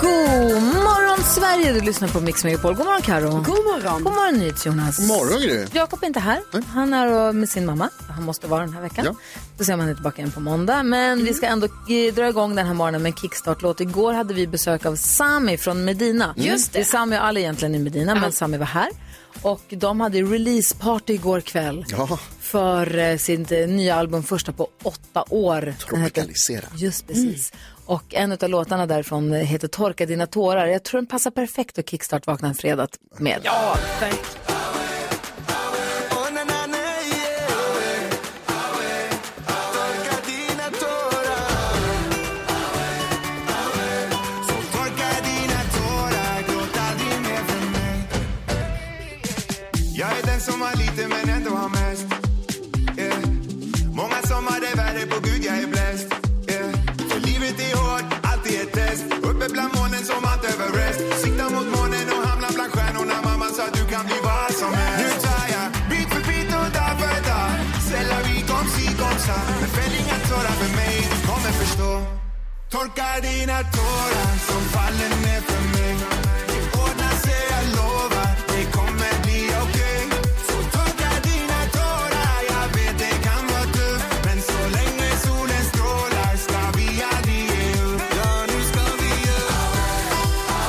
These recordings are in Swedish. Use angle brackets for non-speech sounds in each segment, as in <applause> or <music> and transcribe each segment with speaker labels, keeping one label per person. Speaker 1: God morgon Sverige, du lyssnar på Mix Megapol. God morgon Karo. God morgon. God morgon Jonas.
Speaker 2: God morgon, Gry.
Speaker 1: Jakob är inte här. Han är och- med sin mamma. Han måste vara den här veckan.
Speaker 2: Ja. Mm.
Speaker 1: Då ser man henne tillbaka igen på måndag. Men vi ska ändå eh, dra igång den här morgonen med en kickstart-låt. Igår hade vi besök av Sami från Medina.
Speaker 2: Mm.
Speaker 3: Just det.
Speaker 1: är Sami och Ali egentligen i Medina, men Sami var här. Och de hade releaseparty igår kväll
Speaker 2: Ja,
Speaker 1: för eh, sitt eh, nya album, första på åtta år. Den heter
Speaker 2: tropikalisera.
Speaker 1: Just precis. Och en av låtarna därifrån eh, heter Torka dina tårar. Jag tror den passar perfekt att kickstart-vakna en fredag med. Ja,
Speaker 4: Jag är den som har lite men ändå har mest yeah. Många som har det värre på gud jag är blessed yeah. För livet är hårt, alltid ett test Uppe bland molnen som allt Everest Sikta mot månen och hamna bland stjärnorna Mamma sa du kan bli vad som helst Nu tar jag bit för bit och dag för dag C'est la vie comme si comme ça Men fäll inga tårar för mig, du kommer förstå Torka dina tårar som faller ner för mig Det ordnar sig, jag lovar Det kommer bli okej Så torka dina tårar Jag vet det kan vara tufft Men så länge solen strålar Ska vi aldrig ge upp Ja, nu ska vi ge upp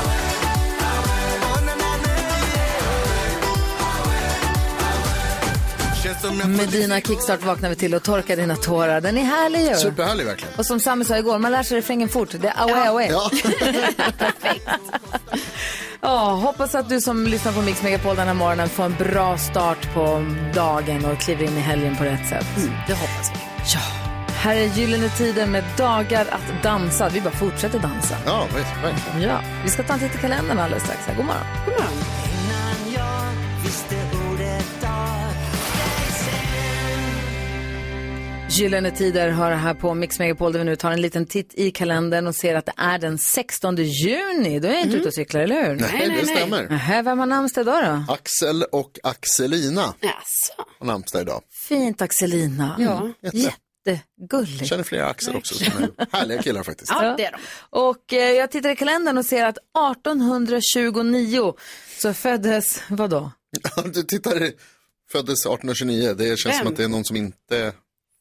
Speaker 4: Känns som jag får
Speaker 1: Medina kickstart vaknar vi till och Torka dina tårar. Den är härlig ju.
Speaker 2: Superhärlig verkligen.
Speaker 1: Och som Sami sa igår, man lär sig refrängen fort. Det är away, away. Ja. <laughs>
Speaker 2: Ja,
Speaker 1: hoppas att du som lyssnar på Mix Megapol den här morgonen får en bra start på dagen och kliver in i helgen på rätt sätt.
Speaker 2: Mm,
Speaker 3: Det hoppas vi.
Speaker 1: Ja, här är Gyllene Tider med dagar att dansa. Vi bara fortsätter dansa.
Speaker 2: ja visst, verkligen.
Speaker 1: Ja, vi ska ta en titt i kalendern alldeles strax. Här. God morgon. Gyllene Tider har det här på Mix Megapol där vi nu tar en liten titt i kalendern och ser att det är den 16 juni. Då är jag inte ute och cyklar, eller hur?
Speaker 2: Mm. Nej, det stämmer.
Speaker 1: Nähä, vem har namnsdag idag då?
Speaker 2: Axel och Axelina
Speaker 3: Jaså?
Speaker 2: har namnsdag idag.
Speaker 1: Fint Axelina. Ja.
Speaker 2: Jätte.
Speaker 1: Jättegulligt.
Speaker 2: Känner flera Axel också som är härliga killar faktiskt.
Speaker 3: Ja, det är de.
Speaker 1: Och eh, jag tittar i kalendern och ser att 1829 så föddes, vadå?
Speaker 2: <laughs> Du tittar, föddes 1829, det känns som
Speaker 3: Vem?
Speaker 2: att det är någon som inte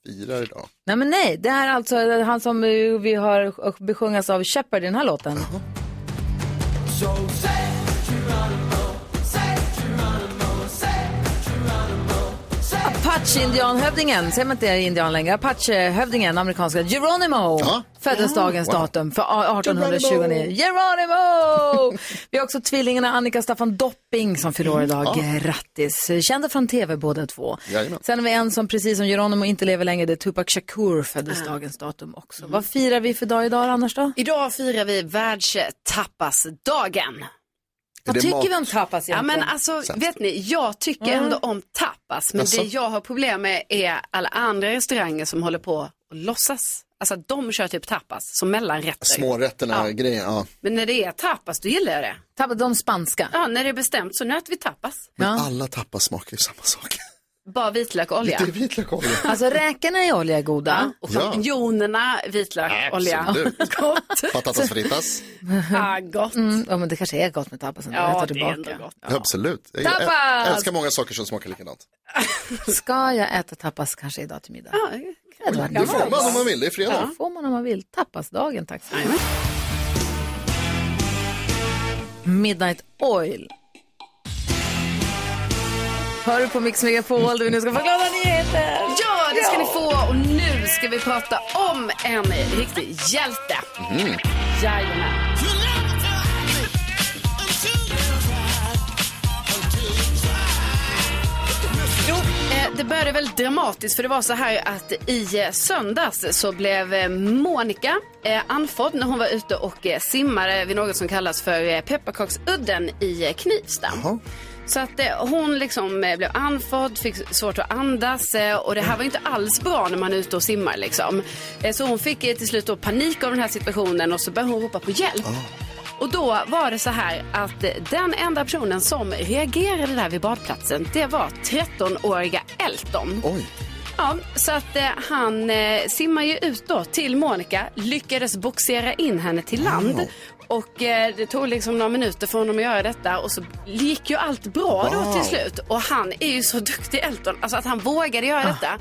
Speaker 2: firar idag.
Speaker 1: Nej men nej, det här är alltså han som eh, vi har besjungas av Shepard i den här låten. Apache-indianhövdingen, säger man inte indian längre? Apache-hövdingen, amerikanska Geronimo,
Speaker 2: Ja.
Speaker 1: föddes dagens
Speaker 2: Wow.
Speaker 1: datum för a- 1829.
Speaker 2: <laughs>
Speaker 1: Geronimo! Vi har också tvillingarna Annika och Staffan Dopping som fyller år idag. Grattis! Kända från tv båda två.
Speaker 2: Jajamän.
Speaker 1: Sen har vi en som precis som Geronimo inte lever längre, det är Tupac Shakur, föddes dagens datum också.
Speaker 3: Mm.
Speaker 1: Vad firar vi för dag idag annars då?
Speaker 3: Idag firar vi världstapasdagen.
Speaker 2: Är
Speaker 1: Vad
Speaker 2: det
Speaker 1: tycker
Speaker 2: mat?
Speaker 1: vi om tapas
Speaker 3: Ja,
Speaker 1: egentligen? Mm.
Speaker 3: men alltså, vet ni, jag tycker ändå om tapas. Men
Speaker 2: Jaså?
Speaker 3: det jag har problem med är alla andra restauranger som håller på och låtsas. Alltså att de kör typ tapas som mellanrätter.
Speaker 2: Smårätterna,
Speaker 3: Ja.
Speaker 2: grejen. Ja.
Speaker 3: Men när det är tapas, då gillar jag det.
Speaker 1: Tapas, de spanska.
Speaker 3: Ja, när det är bestämt så nu äter vi tapas.
Speaker 2: Men
Speaker 1: Ja.
Speaker 2: alla tapas smakar ju samma sak.
Speaker 3: Bara vitlök och olja.
Speaker 2: Det är vitlökolja.
Speaker 1: Alltså räkorna i olja är goda.
Speaker 3: Ja, och
Speaker 2: Ja.
Speaker 3: champinjonerna, vitlök, olja. <laughs>
Speaker 2: Absolut.
Speaker 3: Gott.
Speaker 2: Patatas fritas.
Speaker 3: Ah, gott.
Speaker 1: Mm, ja, men det kanske är gott med tapasen. Jag
Speaker 3: Ja,
Speaker 1: tar
Speaker 3: det är ändå
Speaker 1: tillbaka.
Speaker 3: gott.
Speaker 2: Absolut. Jag äl-
Speaker 1: Tapas!
Speaker 2: älskar många saker som smakar likadant.
Speaker 1: Ska jag äta tapas kanske idag till middag?
Speaker 3: Ja,
Speaker 1: Det hade varit
Speaker 2: Det får
Speaker 1: gott.
Speaker 2: man om man vill, det är fredag.
Speaker 1: får man om man vill. Tapasdagen, tack så
Speaker 3: Jajamän.
Speaker 1: mycket. Midnight Oil. Hör du på Mix Megapol där vi nu ska få glada nyheter?
Speaker 3: Ja, det ska ni få. Och nu ska vi prata om en riktig hjälte.
Speaker 5: Mm.
Speaker 3: Jajamän. Jo, eh, det började väldigt dramatiskt för det var så här att i eh, söndags så blev eh, Monica eh, anfådd när hon var ute och eh, simmade vid något som kallas för eh, Pepparkaksudden i eh, Knivsta. Så att eh, hon liksom eh, blev andfådd, fick svårt att andas eh, och det här var ju inte alls bra när man är ute och simmar liksom. Eh, så hon fick eh, till slut då panik av den här situationen och så började hon ropa på hjälp. Och då var det så här att den enda personen som reagerade där vid badplatsen, det var 13-åriga Elton.
Speaker 2: Oj.
Speaker 3: Ja, så att eh, han eh, simmar ju ut då till Monica, lyckades boxera in henne till land. Och eh, det tog liksom några minuter för honom att göra detta och så gick ju allt bra då
Speaker 2: Wow.
Speaker 3: till slut. Och han är ju så duktig Elton, alltså att han vågade
Speaker 2: Ah.
Speaker 3: göra detta.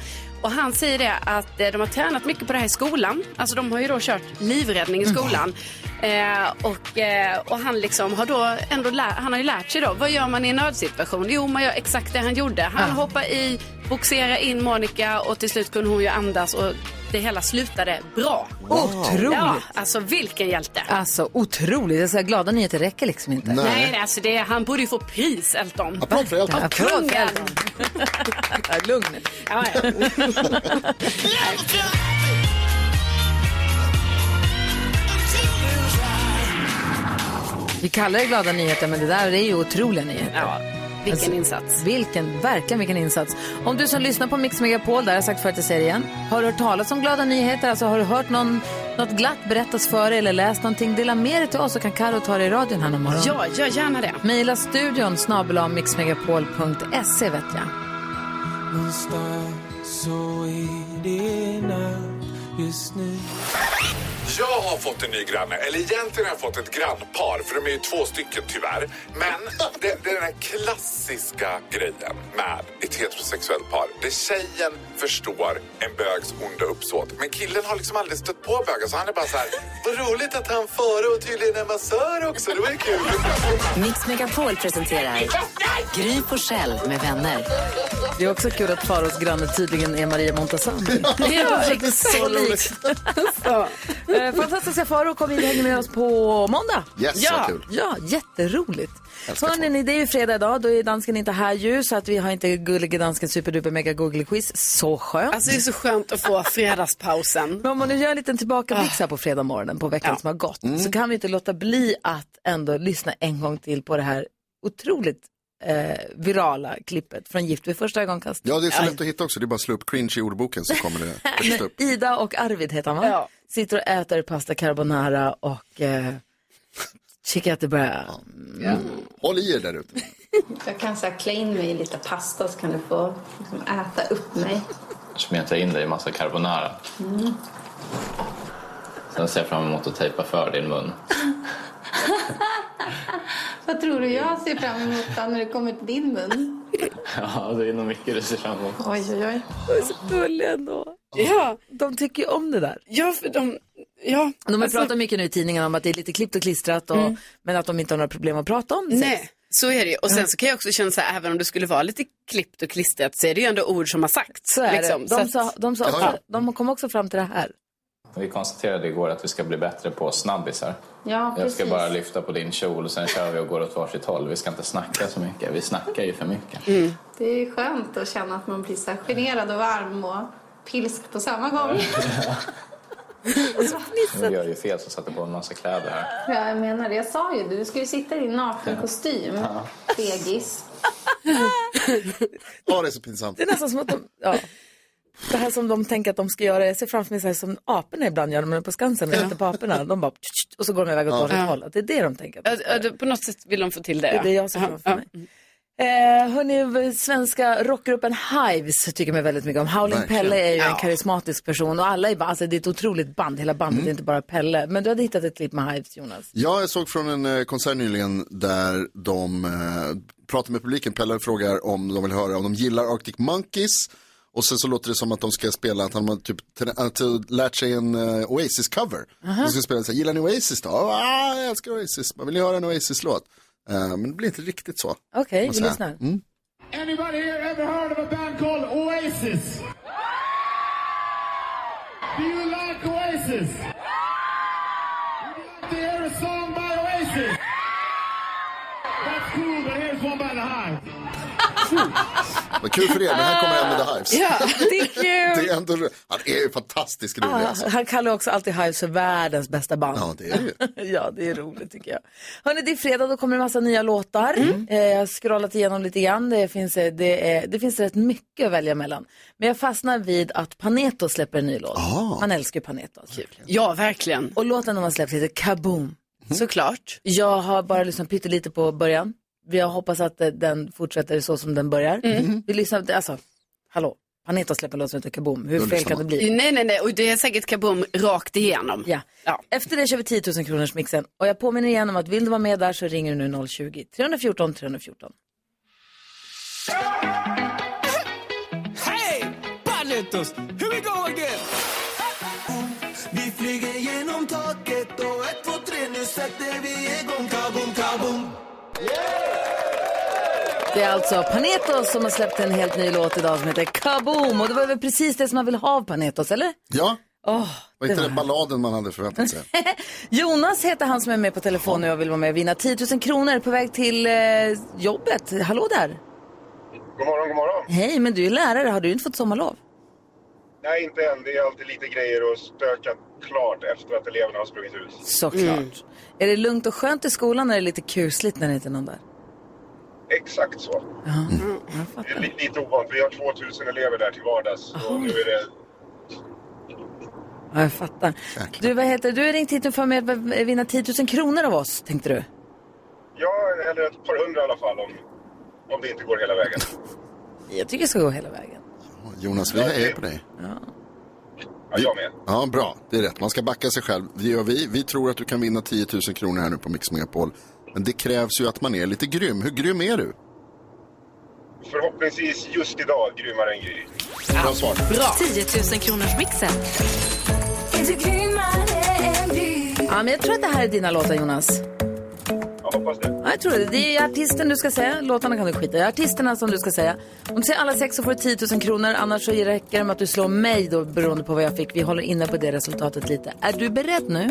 Speaker 3: Och han säger det att eh, de har tränat mycket på det här i skolan. Alltså de har ju då kört livräddning i
Speaker 2: Mm.
Speaker 3: skolan. Eh, och, eh, och han liksom har då ändå lär, han har ju lärt sig då, vad gör man i en nödsituation? Jo, man gör exakt det han gjorde.
Speaker 2: Ah.
Speaker 3: Han hoppar i, boxerar in Monica och till slut kunde hon ju andas och det hela slutade bra.
Speaker 1: Otroligt!
Speaker 3: Ja, alltså vilken hjälte.
Speaker 1: Alltså otroligt. Jag säger, glada nyheter räcker liksom inte.
Speaker 2: Nej.
Speaker 3: Nej, nej alltså det, han borde ju få pris, Elton.
Speaker 2: Applåd för Elton.
Speaker 1: Ja, förlåt,
Speaker 3: Kungen.
Speaker 1: Elton. <laughs> Ja, Lugn.
Speaker 3: Ja, ja.
Speaker 1: Vi kallar det glada nyheter, men det där är ju otroliga nyheter.
Speaker 3: ja, vilken
Speaker 1: Alltså,
Speaker 3: insats.
Speaker 1: Vilken, verkligen vilken insats. Om du som lyssnar på Mix Megapol, där har jag sagt förut, jag säger det igen. Har du hört talas om glada nyheter? Alltså har du hört någon, något glatt berättas för dig eller läst någonting? Dela med dig till oss så kan Karo ta det i radion här någon morgon.
Speaker 3: Ja, gör gärna det.
Speaker 1: Mejla studion snabel mixmegapol.se vet jag.
Speaker 6: Jag har fått en ny granne, eller egentligen har jag fått ett grannpar för de är ju två stycken tyvärr. Men det, det är den här klassiska grejen med ett heterosexuellt par. Det tjejen förstår en bögs onda uppsåt. Men killen har liksom aldrig stött på bögen så han är bara så här, vad roligt att han före och tydligen är massör också, det var ju kul.
Speaker 7: Mix Megapol presenterar Gry på Själ med vänner.
Speaker 1: Det är också kul att Faros granne tydligen är Maria <laughs> Montazami.
Speaker 3: Ja,
Speaker 1: så likt. <laughs> Eh, Fantastiska Faro kom in och hänger med oss på måndag.
Speaker 2: Yes,
Speaker 3: Ja.
Speaker 2: vad kul.
Speaker 1: Ja, jätteroligt.
Speaker 2: Älskar
Speaker 1: Hörrni, ni, det är ju fredag idag, då är dansken inte här ju, så att vi har inte gullige dansken superduper mega google quiz. Så skönt.
Speaker 3: <laughs> Alltså det är så skönt att få fredagspausen. Ah,
Speaker 1: Men om man nu gör en liten tillbakablick så här på fredag morgonen på veckan som har gått
Speaker 2: Mm.
Speaker 1: så kan vi inte låta bli att ändå lyssna en gång till på det här otroligt eh, virala klippet från Gift vid första ögonkastet.
Speaker 2: Ja, det är så lätt att hitta också. Det är bara att slå upp cringe i ordboken så
Speaker 3: <laughs>
Speaker 2: kommer det högst upp.
Speaker 1: Ida och Arvid heter han va?
Speaker 3: Ja.
Speaker 1: Sitter och äter pasta carbonara och eh, ciabattebra.
Speaker 2: Håll i er där ute.
Speaker 8: <laughs> Jag kan så här klä in mig i lite pasta så kan du få liksom äta upp mig. Mm.
Speaker 5: smeta in dig i massa carbonara. Sen ser jag fram emot att tejpa för din mun.
Speaker 8: Vad tror du jag ser fram emot då när det kommer till din mun?
Speaker 5: <laughs> Ja, det är nog mycket du ser fram emot.
Speaker 8: Oj, oj, oj.
Speaker 1: Gulliga ändå.
Speaker 3: Ja,
Speaker 1: De tycker ju om det där.
Speaker 3: ja, för de, ja. Alltså- Mm.
Speaker 1: De har pratat mycket nu i tidningarna om att det är lite klippt och klistrat och, men att de inte har några problem att prata om det.
Speaker 3: Nej, så är det ju. Och sen så kan jag också känna så här, även om det skulle vara lite klippt och klistrat så är det ju ändå ord som har sagts.
Speaker 1: Så är
Speaker 3: liksom.
Speaker 1: det. De,
Speaker 3: så
Speaker 1: sa,
Speaker 3: att,
Speaker 1: de, sa också, de kom också fram till det här.
Speaker 5: Vi konstaterade igår att vi ska bli bättre på snabbisar.
Speaker 8: Ja,
Speaker 5: Jag ska
Speaker 8: precis.
Speaker 5: bara lyfta på din kjol och sen kör vi och går åt varsitt håll. Vi ska inte snacka så mycket. Vi snackar ju för mycket.
Speaker 2: Mm.
Speaker 8: Det är ju skönt att känna att man blir så här generad och varm och pilsk på samma
Speaker 2: <laughs>
Speaker 8: gång.
Speaker 5: Du gör ju fel som satte på en massa kläder här.
Speaker 8: Ja, jag menar det. Jag sa ju du ska ju sitta i din nakenkostym, fegis.
Speaker 2: Ja, det är så pinsamt.
Speaker 1: Det är nästan som att de, ja. Det här som de tänker att de ska göra, jag ser framför mig så här som aporna ibland gör när de är på Skansen och tittar på aporna. De bara, tsch, tsch, och så går de iväg åt varsitt håll. Att Det är det de tänker. att de
Speaker 3: ja,
Speaker 1: ska
Speaker 3: ja,
Speaker 1: göra.
Speaker 3: det- på något sätt vill de få till det.
Speaker 1: Det är det jag ser framför mig. Eh, hörni, svenska rockgruppen Hives tycker man väldigt mycket om. Howlin'
Speaker 2: Verkligen.
Speaker 1: Pelle är ju en karismatisk person och alla är bara, alltså det är ett otroligt band, hela bandet, det är inte bara Pelle. Men du hade hittat ett klipp med Hives, Jonas.
Speaker 2: Ja, jag såg från en eh, konsert nyligen där de eh, pratar med publiken. Pelle frågar om de vill höra om de gillar Arctic Monkeys. Och sen så låter det som att de ska spela, att han har typ tra- att, eh, lärt sig en eh, Oasis-cover. De ska spela så här, gillar ni Oasis då? Ah, jag älskar Oasis, man vill ju höra en Oasis-låt. Eh, men det blir inte riktigt så.
Speaker 1: Okej,
Speaker 2: Och
Speaker 1: vi
Speaker 2: så här.
Speaker 1: lyssnar.
Speaker 2: Mm.
Speaker 4: Anybody here ever heard of a band called Oasis? Do you like Oasis? Would you like to hear a song by Oasis? That's cool, but here's one by the Hive.
Speaker 2: Vad kul för er, men här kommer en med The Hives.
Speaker 1: Ja, det är kul!
Speaker 2: <laughs> Det är ändå, han är ju fantastiskt rolig alltså.
Speaker 1: Ah, han kallar också alltid Hives för världens bästa band.
Speaker 2: Ja, det är det ju.
Speaker 1: <laughs> Ja, det är roligt tycker jag. Hörni, det är fredag, då kommer en massa nya låtar. Eh, jag har scrollat igenom lite grann, det finns, eh, det, är, det finns rätt mycket att välja mellan. Men jag fastnar vid att Paneto släpper en ny låt. Man älskar ju Paneto. alltså.
Speaker 3: Ja, verkligen. Mm.
Speaker 1: Och låten de har släppt heter Kaboom.
Speaker 3: såklart.
Speaker 1: Jag har bara lyssnat pyttelite på början. Jag hoppas att eh, den fortsätter så som den börjar.
Speaker 3: Mm.
Speaker 1: Vi lyssnar, alltså, hallå, Paneta släpper en låt som heter Kaboom. Hur fel kan det bli?
Speaker 3: Nej, nej, nej, och det är säkert kaboom rakt igenom.
Speaker 1: Ja.
Speaker 3: Ja.
Speaker 1: Efter det kör vi 10 000 kronors mixen. Och jag påminner igen om att vill du vara med där så ringer du nu 020-314 314.
Speaker 4: Hey! Paletos, here we go again! Vi flyger genom taket och ett, två, tre, nu sätter vi igång kaboom, kaboom
Speaker 1: Det är alltså Panetos som har släppt en helt ny låt idag som heter Kaboom. Och det var väl precis det som man vill ha av Panetos, eller?
Speaker 2: Ja,
Speaker 1: Åh,
Speaker 2: var
Speaker 1: det
Speaker 2: inte
Speaker 1: var
Speaker 2: den balladen man hade förväntat sig?
Speaker 1: <laughs> Jonas heter han som är med på telefon och jag vill vara med och vinna 10 000 kronor på väg till eh, jobbet. Hallå där!
Speaker 4: God morgon, god morgon.
Speaker 1: Hej, men du är lärare. Har du inte fått sommarlov?
Speaker 4: Nej, inte än. Det är alltid lite grejer att stöka klart efter att eleverna har sprungit ut.
Speaker 1: Såklart.
Speaker 3: Mm.
Speaker 1: Är det lugnt och skönt i skolan eller är det lite kusligt när det inte är någon där?
Speaker 4: Exakt så.
Speaker 1: Ja,
Speaker 2: Mm.
Speaker 1: Mm, jag
Speaker 4: Det är
Speaker 1: fattar.
Speaker 4: li- lite ovant. Vi har 2000 elever där till vardags. Och nu är det...
Speaker 1: Ja, jag fattar. Du, vad heter Du har ringt hit för att vara med och vinna 10 000 kronor av oss, tänkte du?
Speaker 4: Ja, eller ett par hundra i alla fall om, om det inte går hela vägen.
Speaker 1: Jag tycker det ska gå hela vägen.
Speaker 2: Jonas, vi är på dig.
Speaker 4: Ja, jag med.
Speaker 2: Ja, bra. Det är rätt. Man ska backa sig själv. Det gör vi. Vi tror att du kan vinna 10 000 kronor här nu på Mix Megapol. Men det krävs ju att man är lite grym. Hur grym är du?
Speaker 4: Förhoppningsvis just idag grymmare än Gry.
Speaker 2: Bra svar.
Speaker 7: 10 000 kronors mixen.
Speaker 1: Ja, men jag tror att det här är dina låtar, Jonas.
Speaker 4: Jag hoppas det.
Speaker 1: Ja, jag tror det. Det är artisten du ska säga. Låtarna kan du skita i. Artisterna som du ska säga. Om du säger alla sex så får du 10 000 kronor. Annars så räcker det med att du slår mig då, beroende på vad jag fick. Vi håller inne på det resultatet lite. Är du beredd nu?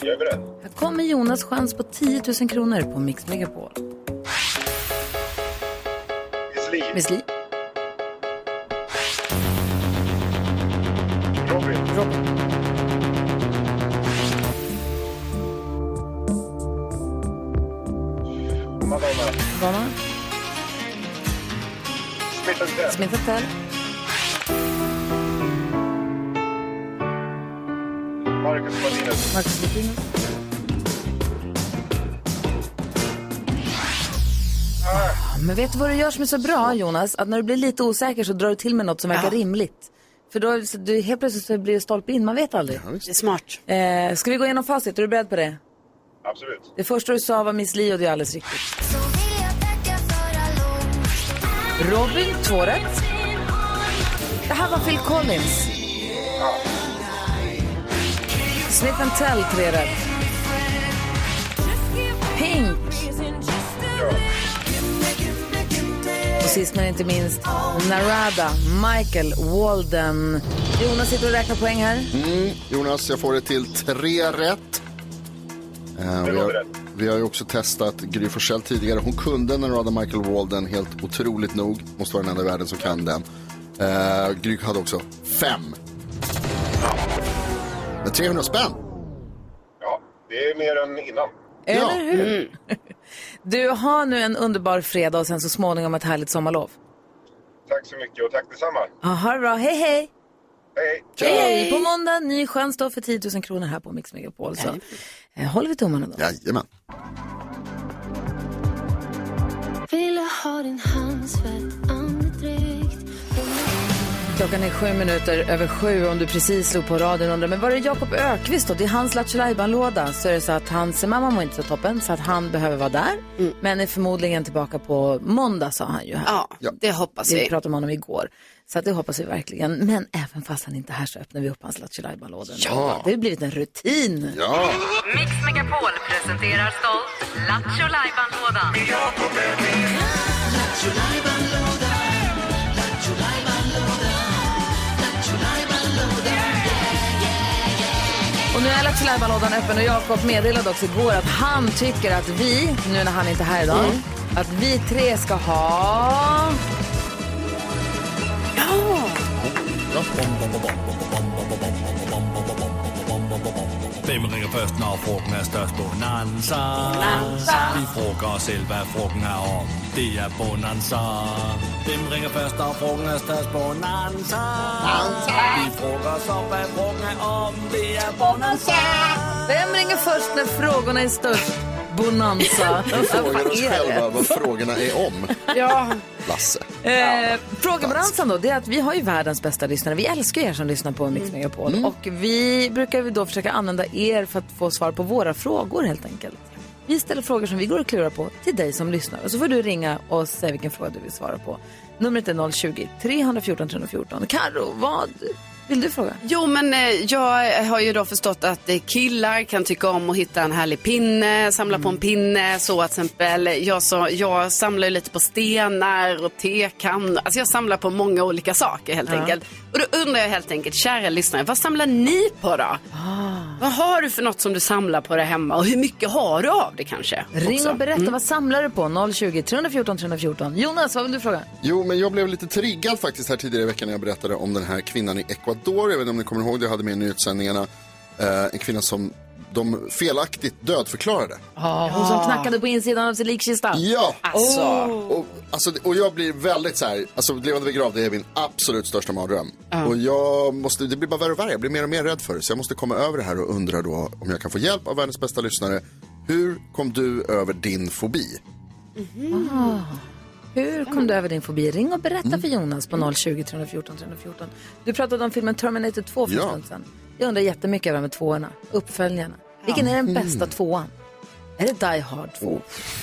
Speaker 4: Jag är beredd.
Speaker 1: Här kommer Jonas chans på 10 000 kronor på Mix Megapol.
Speaker 4: Miss Li,
Speaker 1: Miss Li,
Speaker 4: Robin, Madonna,
Speaker 1: Donna,
Speaker 4: Smith Tell,
Speaker 1: Smith Tell,
Speaker 4: Marcus Martinez,
Speaker 1: Marcus Lutino. Ah, Men vet du vad du gör som är så bra, Jonas? Att när du blir lite osäker så drar du till med något som verkar rimligt. För då så du, helt plötsligt så blir det stolpe in, man vet aldrig.
Speaker 3: Det är smart.
Speaker 1: Eh, ska vi gå igenom facit? Är du beredd på det?
Speaker 4: Absolut.
Speaker 1: Det första du sa var Miss Li och det är alldeles riktigt. Robin, två rätt. Det här var Phil Collins. Smith and Tell, tre rätt. Pink. Och sist men inte minst, Narada, Michael, Walden. Jonas sitter och räknar poäng här.
Speaker 2: Mm, Jonas, jag får det till tre rätt. Eh, vi,
Speaker 4: låter
Speaker 2: har,
Speaker 4: rätt.
Speaker 2: vi har ju också testat Gry Forssell tidigare. Hon kunde den raden Michael Walden, helt otroligt nog. Måste vara den enda i världen som kan den. Eh, Gry hade också fem. Med 300 spänn.
Speaker 4: Ja, det är mer än innan.
Speaker 2: Ja.
Speaker 1: Eller hur? Du, har nu en underbar fredag och sen så småningom ett härligt sommarlov.
Speaker 4: Tack så mycket och tack detsamma.
Speaker 1: Ja, Ha det bra, hej hej!
Speaker 4: Hej!
Speaker 1: Hej! På måndag, ny chans då för 10 000 kronor här på Mix Megapol. Så eh, håller vi tummarna då.
Speaker 2: Jajamän.
Speaker 1: Klockan är sju minuter över sju om du precis slog på radion och undrar, men var är Jakob Ökvist då? Det är hans Lattjo låda Så är det så att hans mamma mår inte så toppen så att han behöver vara där. Men är förmodligen tillbaka på måndag sa han ju här.
Speaker 3: Ja, det hoppas
Speaker 1: Vi
Speaker 3: vi.
Speaker 1: pratade om honom igår. Så att det hoppas vi verkligen. Men även fast han inte är här så öppnar vi upp hans Lattjo lådor
Speaker 2: Ja.
Speaker 1: Det har blivit en rutin.
Speaker 2: Ja.
Speaker 7: Mix Megapol presenterar stolt Lattjo Lajban-lådan.
Speaker 1: Och nu är Lattjo Lajban-lådan öppen och Jakob meddelade också igår att han tycker att vi, nu när han inte är här idag, att vi tre ska ha...
Speaker 9: Hvem ringer først, når frugten er størst? Bonanza. Vi frugger os selv, hvad frugten er om. Det er Bonanza. Hvem ringer først, når frugten er størst? Bonanza. Vi frugger os op, hvad frugten er om. Det er Bonanza.
Speaker 1: Vem ringer först när frågorna är störst?
Speaker 2: <laughs>
Speaker 1: Bonanza.
Speaker 2: Vi frågar
Speaker 1: Alltså, Vad
Speaker 2: oss
Speaker 1: är det?
Speaker 2: själva vad frågorna är om.
Speaker 3: Ja.
Speaker 2: Lasse.
Speaker 1: Eh, Frågebalansen då, det är att vi har ju världens bästa lyssnare. Vi älskar er som lyssnar på Mix Megapol. Och vi brukar ju då försöka använda er för att få svar på våra frågor helt enkelt. Vi ställer frågor som vi går och klurar på till dig som lyssnar. Och så får du ringa och säga vilken fråga du vill svara på. Numret är 020-314 314. Karo, vad vill du fråga?
Speaker 3: Jo, men eh, jag har ju då förstått att eh, killar kan tycka om att hitta en härlig pinne, samla på en
Speaker 1: Mm.
Speaker 3: pinne, så att till exempel. Jag, så, jag samlar ju lite på stenar och tekann. Alltså jag samlar på många olika saker helt enkelt. Och då undrar jag helt enkelt, kära lyssnare, vad samlar ni på då?
Speaker 1: Ah.
Speaker 3: Vad har du för något som du samlar på där hemma och hur mycket har du av det kanske?
Speaker 1: Ring
Speaker 3: också? Mm.
Speaker 1: och berätta, vad samlar du på? 020-314 314. Jonas, vad vill du fråga?
Speaker 2: Jo, men jag blev lite triggad faktiskt här tidigare i veckan när jag berättade om den här kvinnan i Ecuador. Jag vet inte om ni kommer ihåg det, jag hade med i nyhetssändningarna. Eh, en kvinna som de felaktigt dödförklarade.
Speaker 1: Ja, hon som knackade på insidan av sin likkista.
Speaker 2: Ah. Ja!
Speaker 3: Alltså,
Speaker 2: Och, alltså, och jag blir väldigt så här, alltså levande begravd är min absolut största mardröm. Och jag måste, det blir bara värre och värre, jag blir mer och mer rädd för det. Så jag måste komma över det här och undrar då om jag kan få hjälp av världens bästa lyssnare. Hur kom du över din fobi?
Speaker 1: Mm-hmm. Ah. Hur kom du över din fobi? Ring och berätta för Jonas på 020 314 314. Du pratade om filmen Terminator 2 för en
Speaker 2: Ja.
Speaker 1: stund sedan. Jag undrar jättemycket över de här tvåorna, uppföljarna. Vilken är den bästa tvåan? Är det Die Hard 2?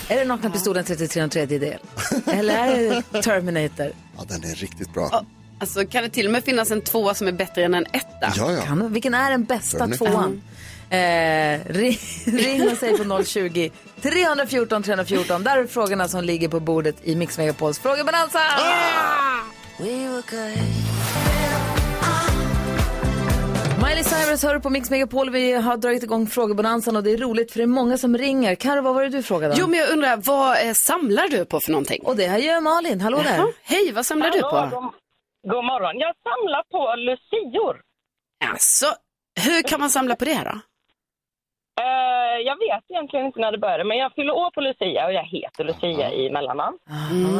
Speaker 1: Är det Nakna pistolen 33 och en tredjedel? Eller är det Terminator?
Speaker 2: Ja, den är riktigt bra.
Speaker 3: Alltså kan det till och med finnas en tvåa som är bättre än en etta?
Speaker 2: Ja, ja.
Speaker 1: Kan, vilken är den bästa
Speaker 2: Terminator.
Speaker 1: tvåan? Eh, ring, <laughs> ring och säg på 020 314 314. Där är frågorna som ligger på bordet i Mix Megapols frågebalansa. Miley Cyrus hör på Mix Megapol. Vi har dragit igång frågebonansen och det är roligt för det är många som ringer. Karo, vad var det du frågade om?
Speaker 3: Jo, men jag undrar, vad eh, samlar du på för någonting?
Speaker 1: Och det här gör Malin. Hallå där.
Speaker 3: Jaha, hej, vad samlar du på?
Speaker 10: God morgon. Jag samlar på lucior.
Speaker 3: Alltså, hur kan man samla på det
Speaker 1: <laughs>
Speaker 3: då?
Speaker 10: Eh, jag vet egentligen inte när det började, men jag fyller år på Lucia och jag heter Lucia i mellannamn.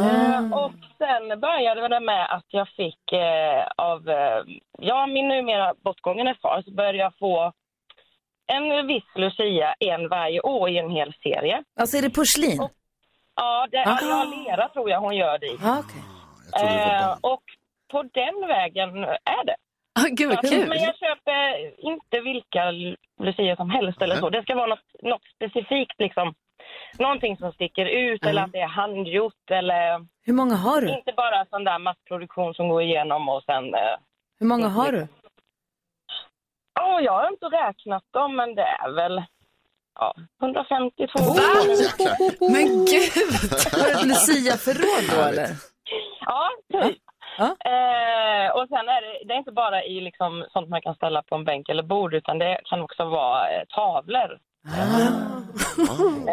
Speaker 10: Eh, och sen började det med att jag fick eh, av, eh, ja min numera bortgångne far, så började jag få en viss Lucia en varje år i en hel serie.
Speaker 1: Alltså är det porslin? Ja,
Speaker 10: Ja, det
Speaker 1: Ah.
Speaker 10: är ah. lera tror jag hon gör det i.
Speaker 1: ah, okej.
Speaker 2: Jag trodde det var
Speaker 10: Eh,
Speaker 2: barn.
Speaker 10: och på den vägen är det.
Speaker 3: Ah, gud vad
Speaker 10: Ja, Men
Speaker 3: kul.
Speaker 10: jag köper inte vilka lucior som helst eller
Speaker 2: Nej.
Speaker 10: så. Det ska vara något, något specifikt liksom. Någonting som sticker ut eller
Speaker 2: Mm.
Speaker 10: att det är handgjort eller
Speaker 1: Hur många har du?
Speaker 10: inte bara sån där massproduktion som går igenom och sen... eh,
Speaker 1: Hur många har du?
Speaker 10: Ja, jag har inte räknat dem men det är väl ja, 150 200
Speaker 2: Jäklar.
Speaker 3: Men gud!
Speaker 1: Har du ett Lucia-förråd då
Speaker 2: Härligt.
Speaker 1: eller?
Speaker 10: Ja, typ.
Speaker 1: Ja.
Speaker 10: Eh, och sen är det, det är inte bara i liksom sånt man kan ställa på en bänk eller bord utan det kan också vara eh, tavlor.
Speaker 1: <laughs>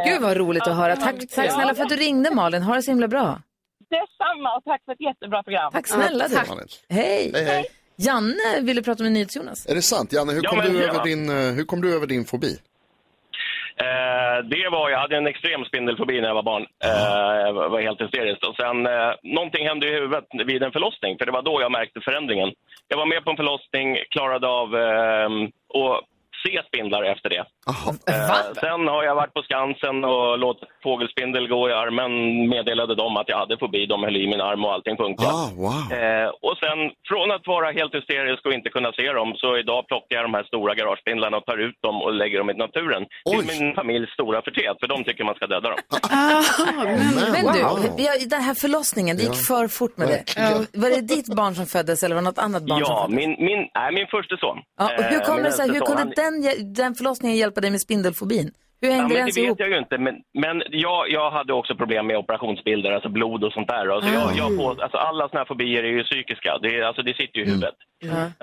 Speaker 1: Gud vad roligt att höra. Tack, tack snälla för att du ringde Malin. Ha det så himla bra.
Speaker 10: Detsamma och tack för ett jättebra program.
Speaker 1: Tack snälla du.
Speaker 2: Malin. Hej,
Speaker 1: Hej.
Speaker 2: hej.
Speaker 1: Janne ville prata med
Speaker 2: <laughs>
Speaker 1: NyhetsJonas.
Speaker 2: Är det sant? Janne, hur
Speaker 11: Ja,
Speaker 2: kom,
Speaker 11: men
Speaker 2: du,
Speaker 11: ja.
Speaker 2: över din, eh, hur kom du över din fobi?
Speaker 11: Eh, det var, jag hade en extrem spindelfobi när jag var barn. Eh, jag var helt hysteriskt. Och sen, eh, någonting hände i huvudet vid en förlossning, för det var då jag märkte förändringen. Jag var med på en förlossning, klarade av eh, att se spindlar efter det.
Speaker 2: Jaha.
Speaker 11: Eh, sen har jag varit på Skansen och låtit fågelspindel gå i armen, meddelade dem att jag hade fobi, de höll i min arm och allting funkade.
Speaker 2: Ah, wow.
Speaker 11: Eh, och sen från att vara helt hysterisk och inte kunna se dem så idag plockar jag de här stora garagespindlarna och tar ut dem och lägger dem i naturen.
Speaker 2: Oj.
Speaker 11: Till min familjs stora förtret, för de tycker man ska
Speaker 2: <laughs>
Speaker 11: döda dem.
Speaker 1: Men du,
Speaker 2: wow.
Speaker 1: vi har, den här förlossningen, det gick för fort med det.
Speaker 2: Verkligen.
Speaker 1: Var det ditt barn som föddes eller var det något annat barn som
Speaker 11: Ja,
Speaker 1: föddes?
Speaker 11: min, min, nej, min första son.
Speaker 1: Ja, och hur
Speaker 11: Eh,
Speaker 1: kommer
Speaker 11: min
Speaker 1: det sig, hur
Speaker 11: äldste son,
Speaker 1: kunde
Speaker 11: han-
Speaker 1: den, hj- den förlossningen hjälpa dig med spindelfobin? Hur
Speaker 11: Ja,
Speaker 1: hängde det
Speaker 11: men
Speaker 1: ens
Speaker 11: det vet
Speaker 1: ihop?
Speaker 11: jag ju inte, men, men jag, jag hade också problem med operationsbilder, alltså blod och sånt där. Alltså jag, jag får, alltså alla såna här fobier är ju psykiska, det, är- alltså det sitter ju i huvudet.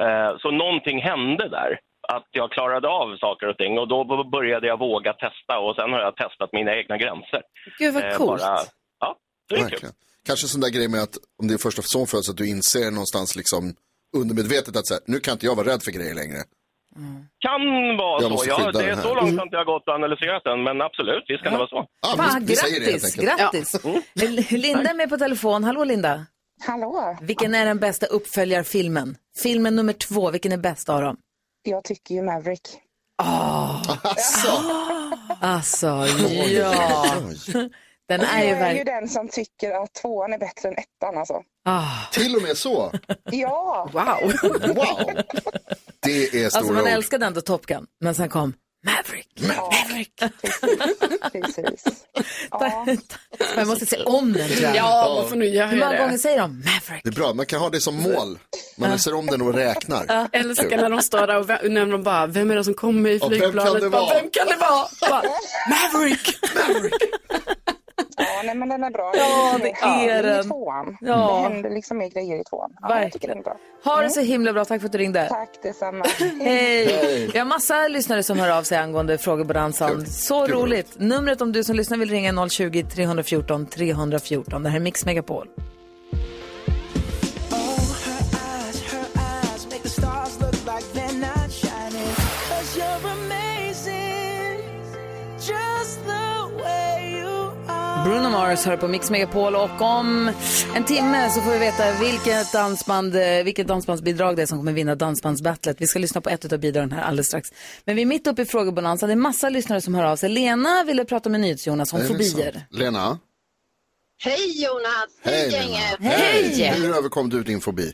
Speaker 11: Eh, så någonting hände där, att jag klarade av saker och ting och då b- började jag våga testa och sen har jag testat mina egna gränser.
Speaker 3: Gud vad
Speaker 11: Eh,
Speaker 3: coolt.
Speaker 11: bara- ja, det är kul.
Speaker 2: Verkligen. Kanske sån där grej med att om det är första son föds att du inser någonstans liksom undermedvetet att så här, nu kan inte jag vara rädd för grejer längre.
Speaker 11: Kan vara
Speaker 2: Jag
Speaker 11: så,
Speaker 2: måste
Speaker 11: ja,
Speaker 2: skydda
Speaker 11: det är
Speaker 2: den
Speaker 11: så
Speaker 2: här.
Speaker 11: långt har inte jag gått och analyserat den, men absolut, visst kan det vara så.
Speaker 2: Ah,
Speaker 1: Fan,
Speaker 2: vi- vi säger det helt
Speaker 1: grattis,
Speaker 2: enkelt.
Speaker 1: grattis.
Speaker 2: Mm.
Speaker 1: Linda är med på telefon. Hallå Linda.
Speaker 10: Hallå!
Speaker 1: Vilken är den bästa uppföljarfilmen? Filmen nummer två, vilken är bäst av dem?
Speaker 10: Jag tycker ju Maverick.
Speaker 12: Ah.
Speaker 1: Alltså, ja. Den är
Speaker 13: jag är
Speaker 1: ju
Speaker 13: ju
Speaker 1: verkligen...
Speaker 13: den som tycker att tvåan är bättre än ettan alltså.
Speaker 2: Till och med så?
Speaker 13: Ja.
Speaker 1: Ah. Wow.
Speaker 2: wow. Det är stora
Speaker 1: Alltså man
Speaker 2: ord.
Speaker 1: älskade ändå Top Gun, men sen kom Maverick. Maverick. <laughs>
Speaker 13: Precis.
Speaker 1: Man måste se om den tror jag.
Speaker 2: Ja, man får nu göra
Speaker 1: Hur många
Speaker 2: det.
Speaker 1: gånger säger de Maverick?
Speaker 2: Det är bra, man kan ha det som mål.
Speaker 1: Ah.
Speaker 2: Man läser om den och räknar.
Speaker 3: Eller så kan när de står där och vä- när de bara, vem är det som kommer i
Speaker 2: Ja, vem kan
Speaker 3: flygplanet?
Speaker 2: det
Speaker 3: bara,
Speaker 2: vara?
Speaker 3: vem kan det vara? Bara, Maverick!
Speaker 13: Ja, nej, men den är bra.
Speaker 1: Ja, det
Speaker 13: Ja,
Speaker 1: är
Speaker 13: i
Speaker 1: den.
Speaker 13: Tvåan.
Speaker 1: Ja.
Speaker 13: Det händer liksom mer grejer i tvåan. Ja, jag tycker den är bra.
Speaker 1: Ha
Speaker 13: Mm.
Speaker 1: det så himla bra, tack för att du ringde.
Speaker 13: Tack detsamma.
Speaker 1: Hej! Vi har massa lyssnare som hör av sig angående frågor på dansen. Så
Speaker 13: Kul.
Speaker 1: roligt! Numret om du som lyssnar vill ringa är 020-314 314. Det här är Mix Megapol.
Speaker 4: Oh,
Speaker 1: Bruno Mars hör på Mix Megapol och om en timme så får vi veta vilket, dansband, eh, vilket dansbandsbidrag det är som kommer vinna Dansbandsbattlet. Vi ska lyssna på ett av bidragen här alldeles strax. Men vi är mitt uppe i frågebonanza. Det är massa lyssnare som hör av sig. Lena ville prata med NyhetsJonas om
Speaker 2: Det är väl sant.
Speaker 1: fobier.
Speaker 2: Lena,
Speaker 8: Hej Jonas! Hej gänget!
Speaker 2: Lena. Hur överkom du din fobi?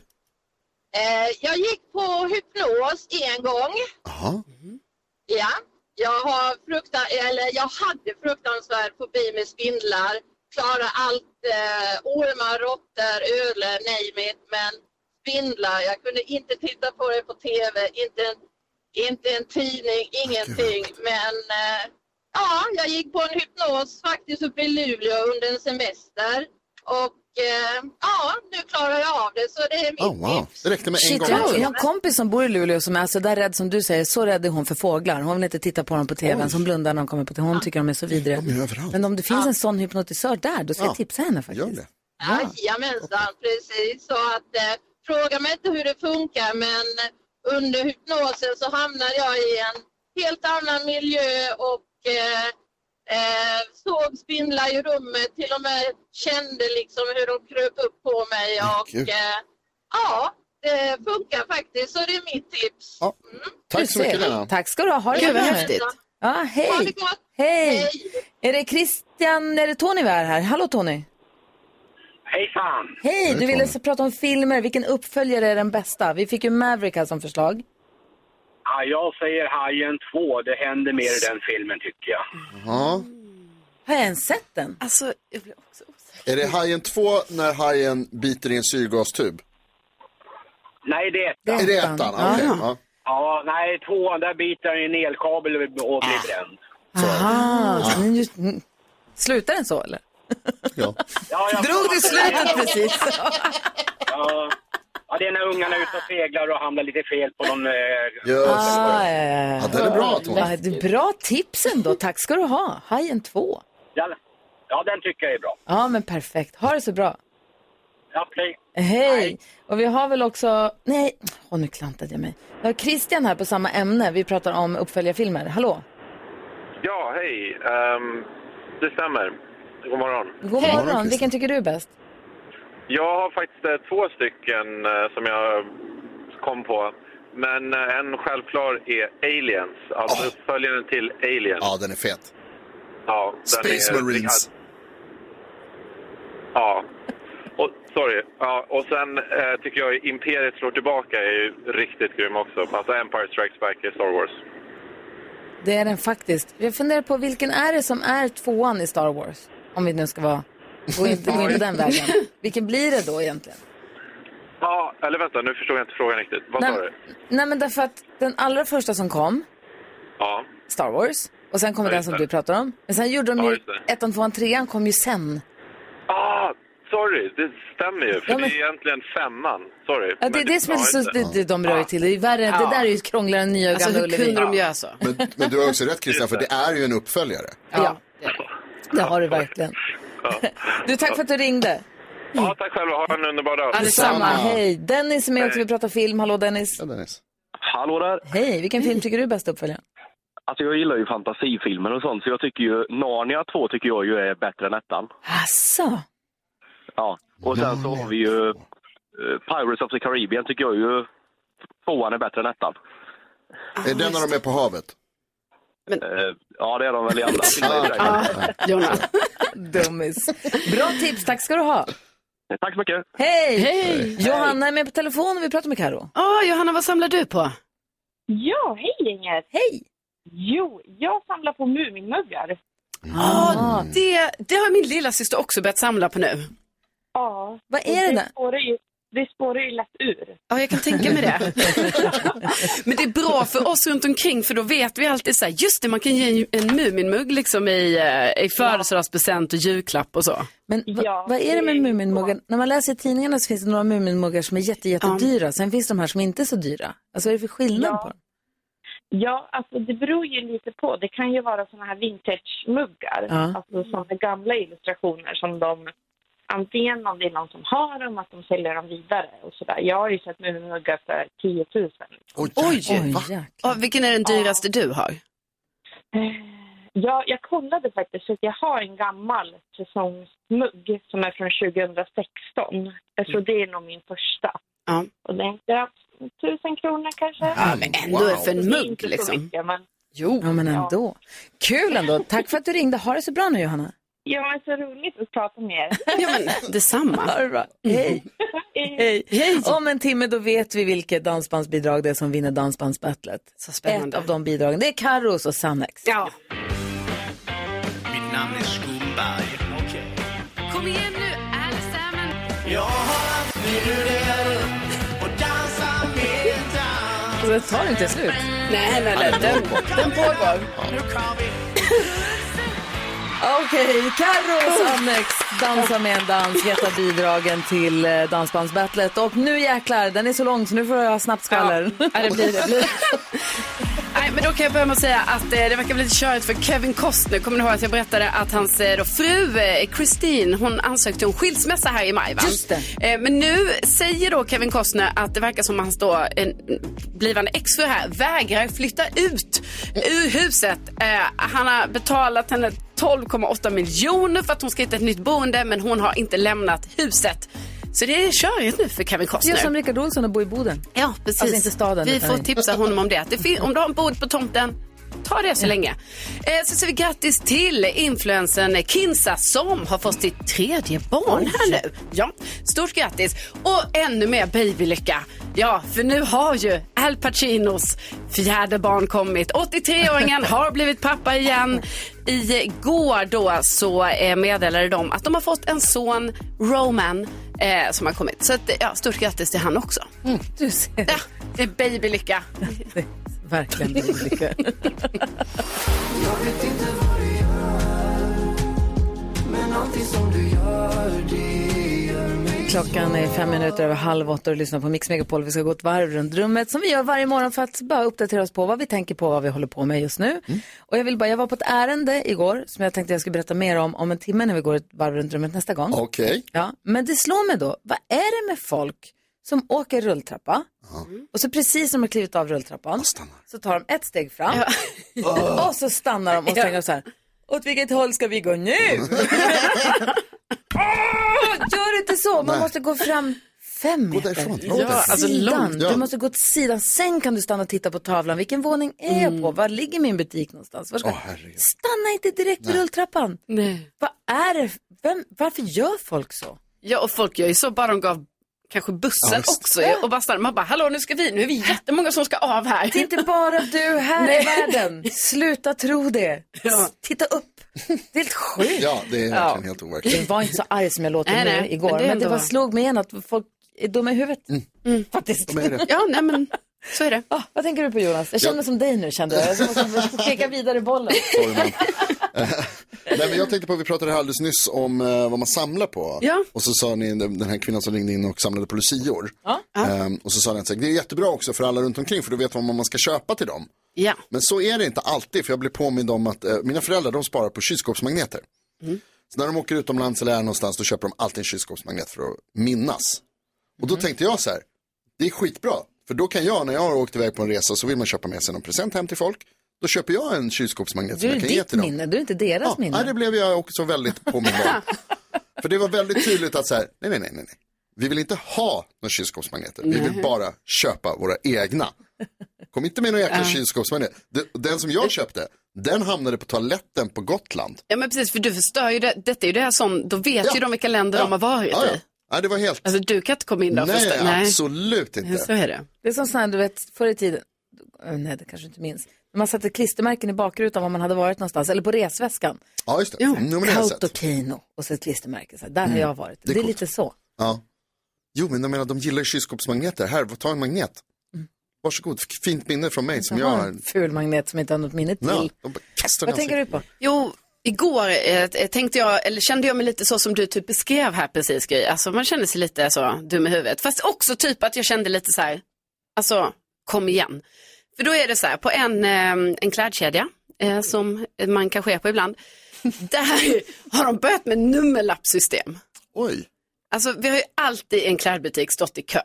Speaker 8: Eh, jag gick på hypnos en gång.
Speaker 2: Jaha.
Speaker 8: Ja. Jag, har frukta, eller jag hade fruktansvärd fobi med spindlar. Klarar allt, eh, ormar, råttor, ödlor, name it. Men spindlar, jag kunde inte titta på det på TV, inte en, inte en tidning, ingenting. Men eh, ja, jag gick på en hypnos faktiskt uppe i Luleå under en semester. Och eh, ja, nu klarar jag av det. Så det är mitt
Speaker 2: Oh, wow. Det räckte med en
Speaker 1: Shit,
Speaker 2: gång.
Speaker 1: jag har en kompis som bor i Luleå som är så där rädd som du säger, så rädd är hon för fåglar. Hon vill inte titta på dem på tvn,
Speaker 2: Oj. Ah.
Speaker 1: som blundar när de kommer på tvn. Hon tycker de är så vidriga. Men om det finns en sån hypnotisör där, då ska
Speaker 8: Ja.
Speaker 2: Ah.
Speaker 1: jag tipsa henne faktiskt.
Speaker 8: Jajamensan, precis. Så att, eh, fråga mig inte hur det funkar, men under hypnosen så hamnade jag i en helt annan miljö och eh, eh, såg spindlar i rummet. Till och med kände liksom hur de kröp upp på mig. Och,
Speaker 2: gud.
Speaker 8: eh, ja, det funkar faktiskt, så det är mitt tips. Mm.
Speaker 1: Du
Speaker 2: Tack så mycket
Speaker 1: ser.
Speaker 2: Lena.
Speaker 1: Tack ska du ha. Ha det
Speaker 8: Gud,
Speaker 1: bra.
Speaker 8: vad häftigt.
Speaker 1: Ja, hej.
Speaker 8: Ha det gott.
Speaker 1: Hej. Är det Christian, är det Tony vi är här? Hallå Tony.
Speaker 14: Hejsan!
Speaker 1: Hej, du ville så prata om filmer. Vilken uppföljare är den bästa? Vi fick ju Maverick här som förslag.
Speaker 14: Ja, jag säger Hajen 2. Det händer mer i den filmen, tycker jag.
Speaker 2: Ja.
Speaker 1: Har jag ens sett den?
Speaker 3: Alltså,
Speaker 2: Är det Hajen 2 när hajen biter i en syrgastub?
Speaker 14: Nej, det är ettan.
Speaker 2: Är det ettan? Ah, okej. Ja.
Speaker 14: Ja, nej, tvåan, där biter han i en elkabel och blir bränd.
Speaker 1: Aha. så den Just... mm. Slutar den så eller?
Speaker 14: Ja, jag-
Speaker 1: Drog du slutet precis?
Speaker 14: <laughs> Ja. ja, det är när ungarna är ute och seglar och hamnar lite fel på någon... Eh,
Speaker 1: Ah, ja, ja, ja.
Speaker 14: Ja, den är bra, Tony.
Speaker 1: Ja, det är bra tips ändå. Tack ska du ha. Hajen 2.
Speaker 14: Den, ja, den tycker jag är bra.
Speaker 1: Ja, men perfekt. Ha det så bra.
Speaker 14: Ja, play.
Speaker 1: Hej! Och vi har väl också, nej, åh nu klantade jag mig. Vi har Christian här på samma ämne, vi pratar om uppföljarfilmer. Hallå!
Speaker 15: Ja, hej. Ehm, det stämmer. God morgon.
Speaker 1: God morgon, vilken tycker du är bäst?
Speaker 15: Jag har faktiskt eh, två stycken eh, som jag kom på. Men eh, en självklar är Aliens, alltså
Speaker 2: Ah.
Speaker 15: uppföljaren till Alien.
Speaker 2: ja, den är fet.
Speaker 15: Ja, den
Speaker 2: Ah. Space
Speaker 15: är-
Speaker 2: Marines.
Speaker 15: Ja. Och, sorry. Ja, och sen eh, tycker jag Imperiet slår tillbaka är ju riktigt grym också. Alltså Empire Strikes Back i Star Wars.
Speaker 1: Det är den faktiskt. Jag funderar på vilken är det som är tvåan i Star Wars? Om vi nu ska vara, gå in, gå in på den <laughs> vägen. Vilken blir det då egentligen?
Speaker 15: Ja, eller vänta, nu förstod jag inte frågan riktigt. Vad
Speaker 1: Nej.
Speaker 15: sa du?
Speaker 1: Nej men därför att den allra första som kom,
Speaker 15: Ja.
Speaker 1: Star Wars, och sen kommer
Speaker 15: Ja,
Speaker 1: den
Speaker 15: just
Speaker 1: som
Speaker 15: det.
Speaker 1: du pratar om. Men sen gjorde de
Speaker 15: Ja,
Speaker 1: ju,
Speaker 15: just det.
Speaker 1: ettan, tvåan, trean kom ju sen.
Speaker 15: Ah, sorry. Det stämmer ju. För
Speaker 1: Ja, men-
Speaker 15: det är egentligen femman. Sorry.
Speaker 1: Ja, det är
Speaker 15: Men
Speaker 1: det som är
Speaker 15: ja,
Speaker 1: så,
Speaker 15: just
Speaker 1: det, det de rör ju till. Det, är värre,
Speaker 15: Ja.
Speaker 1: det där är ju krångligare än nya och
Speaker 3: Alltså,
Speaker 1: gamla
Speaker 3: hur kunde de göra så?
Speaker 2: Men, men du har också rätt Christian, för det är ju en uppföljare.
Speaker 1: Ja, det har du verkligen. Du, tack för att du ringde.
Speaker 15: Ja, tack själva. Ha en underbar dag.
Speaker 1: Ja, detsamma. Hej. Dennis är med också. Vi pratar film. Hallå Dennis.
Speaker 2: Dennis.
Speaker 16: Hallå där!
Speaker 1: Hej. Vilken film tycker du är bäst uppföljare?
Speaker 16: Alltså jag gillar ju fantasifilmer och sånt, så jag tycker ju Narnia 2 tycker jag ju är bättre än ettan.
Speaker 1: Asså.
Speaker 16: Ja. Och sen så har vi ju eh, Pirates of the Caribbean tycker jag ju tvåan är bättre än ettan.
Speaker 2: Är den när de är på havet?
Speaker 16: Eh, ja, det är de väl i alla filmer i och för sig.
Speaker 3: Jonas.
Speaker 1: <laughs> Dummis. Bra tips, tack ska du ha.
Speaker 16: Tack så mycket.
Speaker 1: Hej!
Speaker 3: Hej!
Speaker 1: Johanna är med på telefon och vi pratar med Karo.
Speaker 3: Ja, Johanna, vad samlar du på?
Speaker 17: Ja, hej gänget!
Speaker 1: Hej!
Speaker 17: Jo, jag samlar på Muminmuggar.
Speaker 3: Ja, Ah, det, det har min lilla syster också börjat samla på nu.
Speaker 17: Ja.
Speaker 1: Vad
Speaker 3: är det där?
Speaker 17: Spårar ju, det spårar ju lätt ur.
Speaker 3: Ja, jag kan tänka mig
Speaker 2: <laughs>
Speaker 3: det. Men det är bra för oss runt omkring för då vet vi alltid så här, just det, man kan ge en, en Muminmugg liksom i, eh, i födelsedagspresent och julklapp och så.
Speaker 1: Men va, vad är det med Muminmuggen? När man läser i tidningarna så finns det några Muminmuggar som är jätte, jättedyra. Sen finns de här som inte är så dyra. Alltså vad är det för skillnad på dem?
Speaker 17: Ja, alltså det beror ju lite på. Det kan ju vara såna här vintage-muggar,
Speaker 1: Ja.
Speaker 17: alltså såna gamla illustrationer som de antingen om det är någon som har dem, att de säljer dem vidare och sådär. Jag har ju sett Muminmuggar för 10 000.
Speaker 1: Oh.
Speaker 3: Oj! Ja, vilken är den dyraste du har?
Speaker 17: Ja, jag kollade faktiskt att jag har en gammal säsongsmugg som är från 2016. Jag
Speaker 1: Mm.
Speaker 17: tror det är nog min första.
Speaker 3: Ja.
Speaker 17: Och den ja, 1000 kronor kanske.
Speaker 1: Ja, men ändå Wow. för en
Speaker 17: Det är
Speaker 1: mugg,
Speaker 17: inte så
Speaker 1: liksom.
Speaker 17: mycket, men...
Speaker 3: Jo.
Speaker 1: Ja, men ändå. Kul ändå. Tack för att du ringde. Ha det så bra nu, Johanna.
Speaker 17: Ja, men så roligt att prata med er.
Speaker 3: ja, men
Speaker 17: <laughs>
Speaker 3: detsamma.
Speaker 1: <laughs> Ha det bra.
Speaker 17: Mm.
Speaker 1: Hej. Hej. Om en timme då vet vi vilket dansbandsbidrag det är som vinner Dansbandsbattlet. Så
Speaker 3: spännande.
Speaker 1: Ett av de bidragen. Det är Carros och Sannex.
Speaker 3: Ja.
Speaker 9: Mitt namn är Skumberg. Okej.
Speaker 3: Kom igen nu, allesammen!
Speaker 9: Jag har haft nudel och dansar med dans.
Speaker 1: Så det tar inte slut.
Speaker 3: Nej, nej, nej. Den, den pågår.
Speaker 1: Okej, Carro och Sannex dansar med en dans, heta bidragen till eh, Dansbandsbattlet. Och nu jäklar, den är så lång så nu får jag ha snabbt skvaller.
Speaker 3: Ja, det blir det. det
Speaker 1: <laughs>
Speaker 3: Blir. Nej, men då kan jag börja med att säga att eh, det verkar bli lite körigt för Kevin Costner. Kommer ni ihåg att jag berättade att hans eh, då, fru eh, Christine, hon ansökte om skilsmässa här i maj va?
Speaker 1: Just det.
Speaker 3: Eh, men nu säger då Kevin Costner att det verkar som hans då en blivande exfru här vägrar flytta ut ur huset. Eh, han har betalat henne 12,8 miljoner för att hon ska hitta ett nytt boende men hon har inte lämnat huset. Så det är körigt nu för Kevin Costner.
Speaker 1: Gör som Rickard Olsson och bor i Boden.
Speaker 3: Ja, precis.
Speaker 1: Alltså inte staden.
Speaker 3: Vi
Speaker 1: utan-
Speaker 3: får tipsa honom om det. Att det fin- om du har en bod på tomten, ta det så länge. Eh, så säger vi grattis till influensen Kinsa som har fått sitt tredje barn här nu. Ja, stort grattis. Och ännu mer babylycka. Ja, för nu har ju Al Pacinos fjärde barn kommit.
Speaker 1: <laughs>
Speaker 3: 83-åringen har blivit pappa igen. Igår då så eh, meddelade de att de har fått en son, Roman, eh, som har kommit. Så att, ja, stort grattis till han också.
Speaker 1: Mm, Du ser.
Speaker 3: Ja, det är
Speaker 1: <laughs>
Speaker 3: babylycka.
Speaker 1: Verkligen
Speaker 3: <laughs>
Speaker 1: babylycka.
Speaker 9: Jag vet inte vad du gör Men någonting som du gör det gör mig
Speaker 1: Klockan är fem minuter över halv åtta och lyssnar på Mix Megapol. Vi ska gå ett varv runt rummet som vi gör varje morgon för att bara uppdatera oss på vad vi tänker på, vad vi håller på med just nu. Och jag vill bara, jag var på ett ärende igår som jag tänkte jag skulle berätta mer om om en timme när vi går ett varv runt rummet nästa gång.
Speaker 2: Okej.
Speaker 1: Ja, men det slår mig då, vad är det med folk som åker rulltrappa och så precis som de har klivit av rulltrappan så tar de ett steg fram <laughs> och så stannar de och så tänker de så här, åt vilket håll ska vi gå nu?
Speaker 2: Mm.
Speaker 1: <laughs> Åh, Gör inte så, man
Speaker 2: Nej.
Speaker 1: måste gå fram fem meter.
Speaker 2: långt
Speaker 1: Ja,
Speaker 2: därifrån.
Speaker 1: alltså långt.
Speaker 2: Ja.
Speaker 1: Du måste gå åt sidan, sen kan du stanna och titta på tavlan. Vilken våning är jag på? Var ligger min butik någonstans? Var ska...
Speaker 2: Åh, herregud.
Speaker 1: Stanna inte direkt vid
Speaker 3: Nej.
Speaker 1: rulltrappan.
Speaker 3: Nej.
Speaker 1: Vad är det? Vem... Varför gör folk så?
Speaker 3: Ja, och folk gör ju så bara de gav kanske bussen
Speaker 1: Ja, visst.
Speaker 3: också. Och bara stannar. Man bara, hallå nu ska vi, nu är vi jättemånga som ska av här.
Speaker 1: Det är
Speaker 3: <laughs>
Speaker 1: inte bara du här i
Speaker 3: Nej.
Speaker 1: världen. Sluta tro det. Titta upp. Det är helt sjukt.
Speaker 2: Ja, det är verkligen helt overkligt.
Speaker 1: Jag var inte så arg som jag låter
Speaker 3: Nej,
Speaker 1: nu
Speaker 3: nej,
Speaker 1: igår.
Speaker 3: men
Speaker 1: Men
Speaker 3: det
Speaker 1: det,
Speaker 3: är
Speaker 1: men det
Speaker 3: ändå-
Speaker 1: bara slog mig igen att folk är dumma i huvudet.
Speaker 2: Mm.
Speaker 1: Mm. Faktiskt. Ah,
Speaker 3: De är det. Ja, nej men så är det.
Speaker 1: vad tänker du på Jonas? Jag känner som dig nu kände jag. Jag måste peka vidare bollen.
Speaker 2: Nej, men jag tänkte på, vi pratade här alldeles nyss om eh, vad man samlar på.
Speaker 1: Ja.
Speaker 2: Och så sa ni, den den här kvinnan som ringde in och samlade på lucior. Ehm, och så sa ni att så här, det är jättebra också för alla runt omkring för då vet man vad man ska köpa till dem.
Speaker 3: Ja.
Speaker 2: Men så är det inte alltid för jag blev påmind om att eh, mina föräldrar de sparar på kylskåpsmagneter.
Speaker 1: Mm.
Speaker 2: Så när de åker utomlands eller är någonstans då köper de alltid en kylskåpsmagnet för att minnas. Och då
Speaker 1: Mm.
Speaker 2: tänkte jag så här, det är skitbra. För då kan jag, när jag har åkt iväg på en resa så vill man köpa med sig någon present hem till folk. Då köper jag en kylskåpsmagnet
Speaker 1: Du
Speaker 2: som
Speaker 1: är
Speaker 2: jag kan ge
Speaker 1: ditt
Speaker 2: till dem.
Speaker 1: minne, du är inte deras minne.
Speaker 2: Nej, det blev jag också väldigt påmind
Speaker 1: <laughs>
Speaker 2: om. För det var väldigt tydligt att så här, nej, nej, nej, nej. nej. Vi vill inte ha några kylskåpsmagneter, vi vill
Speaker 1: Nej.
Speaker 2: bara köpa våra egna. Kom inte med någon jäkla
Speaker 1: Ja.
Speaker 2: kylskåpsmagnet. Det- Den som jag köpte, Den hamnade på toaletten på Gotland.
Speaker 3: Ja men precis, för du förstör ju det. Detta är ju det här som, då vet ju de vilka länder de har varit
Speaker 2: Ja, ja.
Speaker 3: i.
Speaker 2: Nej, det var helt...
Speaker 3: Alltså du kan inte komma in där och
Speaker 2: Nej,
Speaker 3: förstöra-
Speaker 2: absolut inte.
Speaker 3: Så är det.
Speaker 1: Det är som sån här, du vet, förr i tiden, eh, nej det kanske inte minns, när man satte klistermärken i bakrutan var man hade varit någonstans, eller på resväskan.
Speaker 2: Ja, just det. Mm, Jo, men det har jag sett.
Speaker 1: Kautokino och så ett klistermärke, så här, där
Speaker 2: Mm.
Speaker 1: har jag varit. Det
Speaker 2: Det är
Speaker 1: är,
Speaker 2: coolt.
Speaker 1: lite så.
Speaker 2: Ja. Jo, men de menar de gillar ju kylskåpsmagneter. Här, ta en magnet. Varsågod, f- fint minne från mig som
Speaker 1: Mm. Jag har
Speaker 2: jag...
Speaker 1: en ful magnet som inte har något minne till.
Speaker 2: Ja, de bara kastar den i ansiktet.
Speaker 1: på?
Speaker 3: Jo, igår eh, tänkte jag, eller kände jag mig lite så som du typ beskrev här precis Gry. Alltså man kände sig lite så dum i huvudet. Fast också typ att jag kände lite så här, alltså kom igen. För då är det så här, på en, eh, en klädkedja eh, som man kanske är på ibland. Där har de börjat med nummerlappssystem.
Speaker 2: Oj.
Speaker 3: Alltså vi har ju alltid i en klädbutik stått i kö.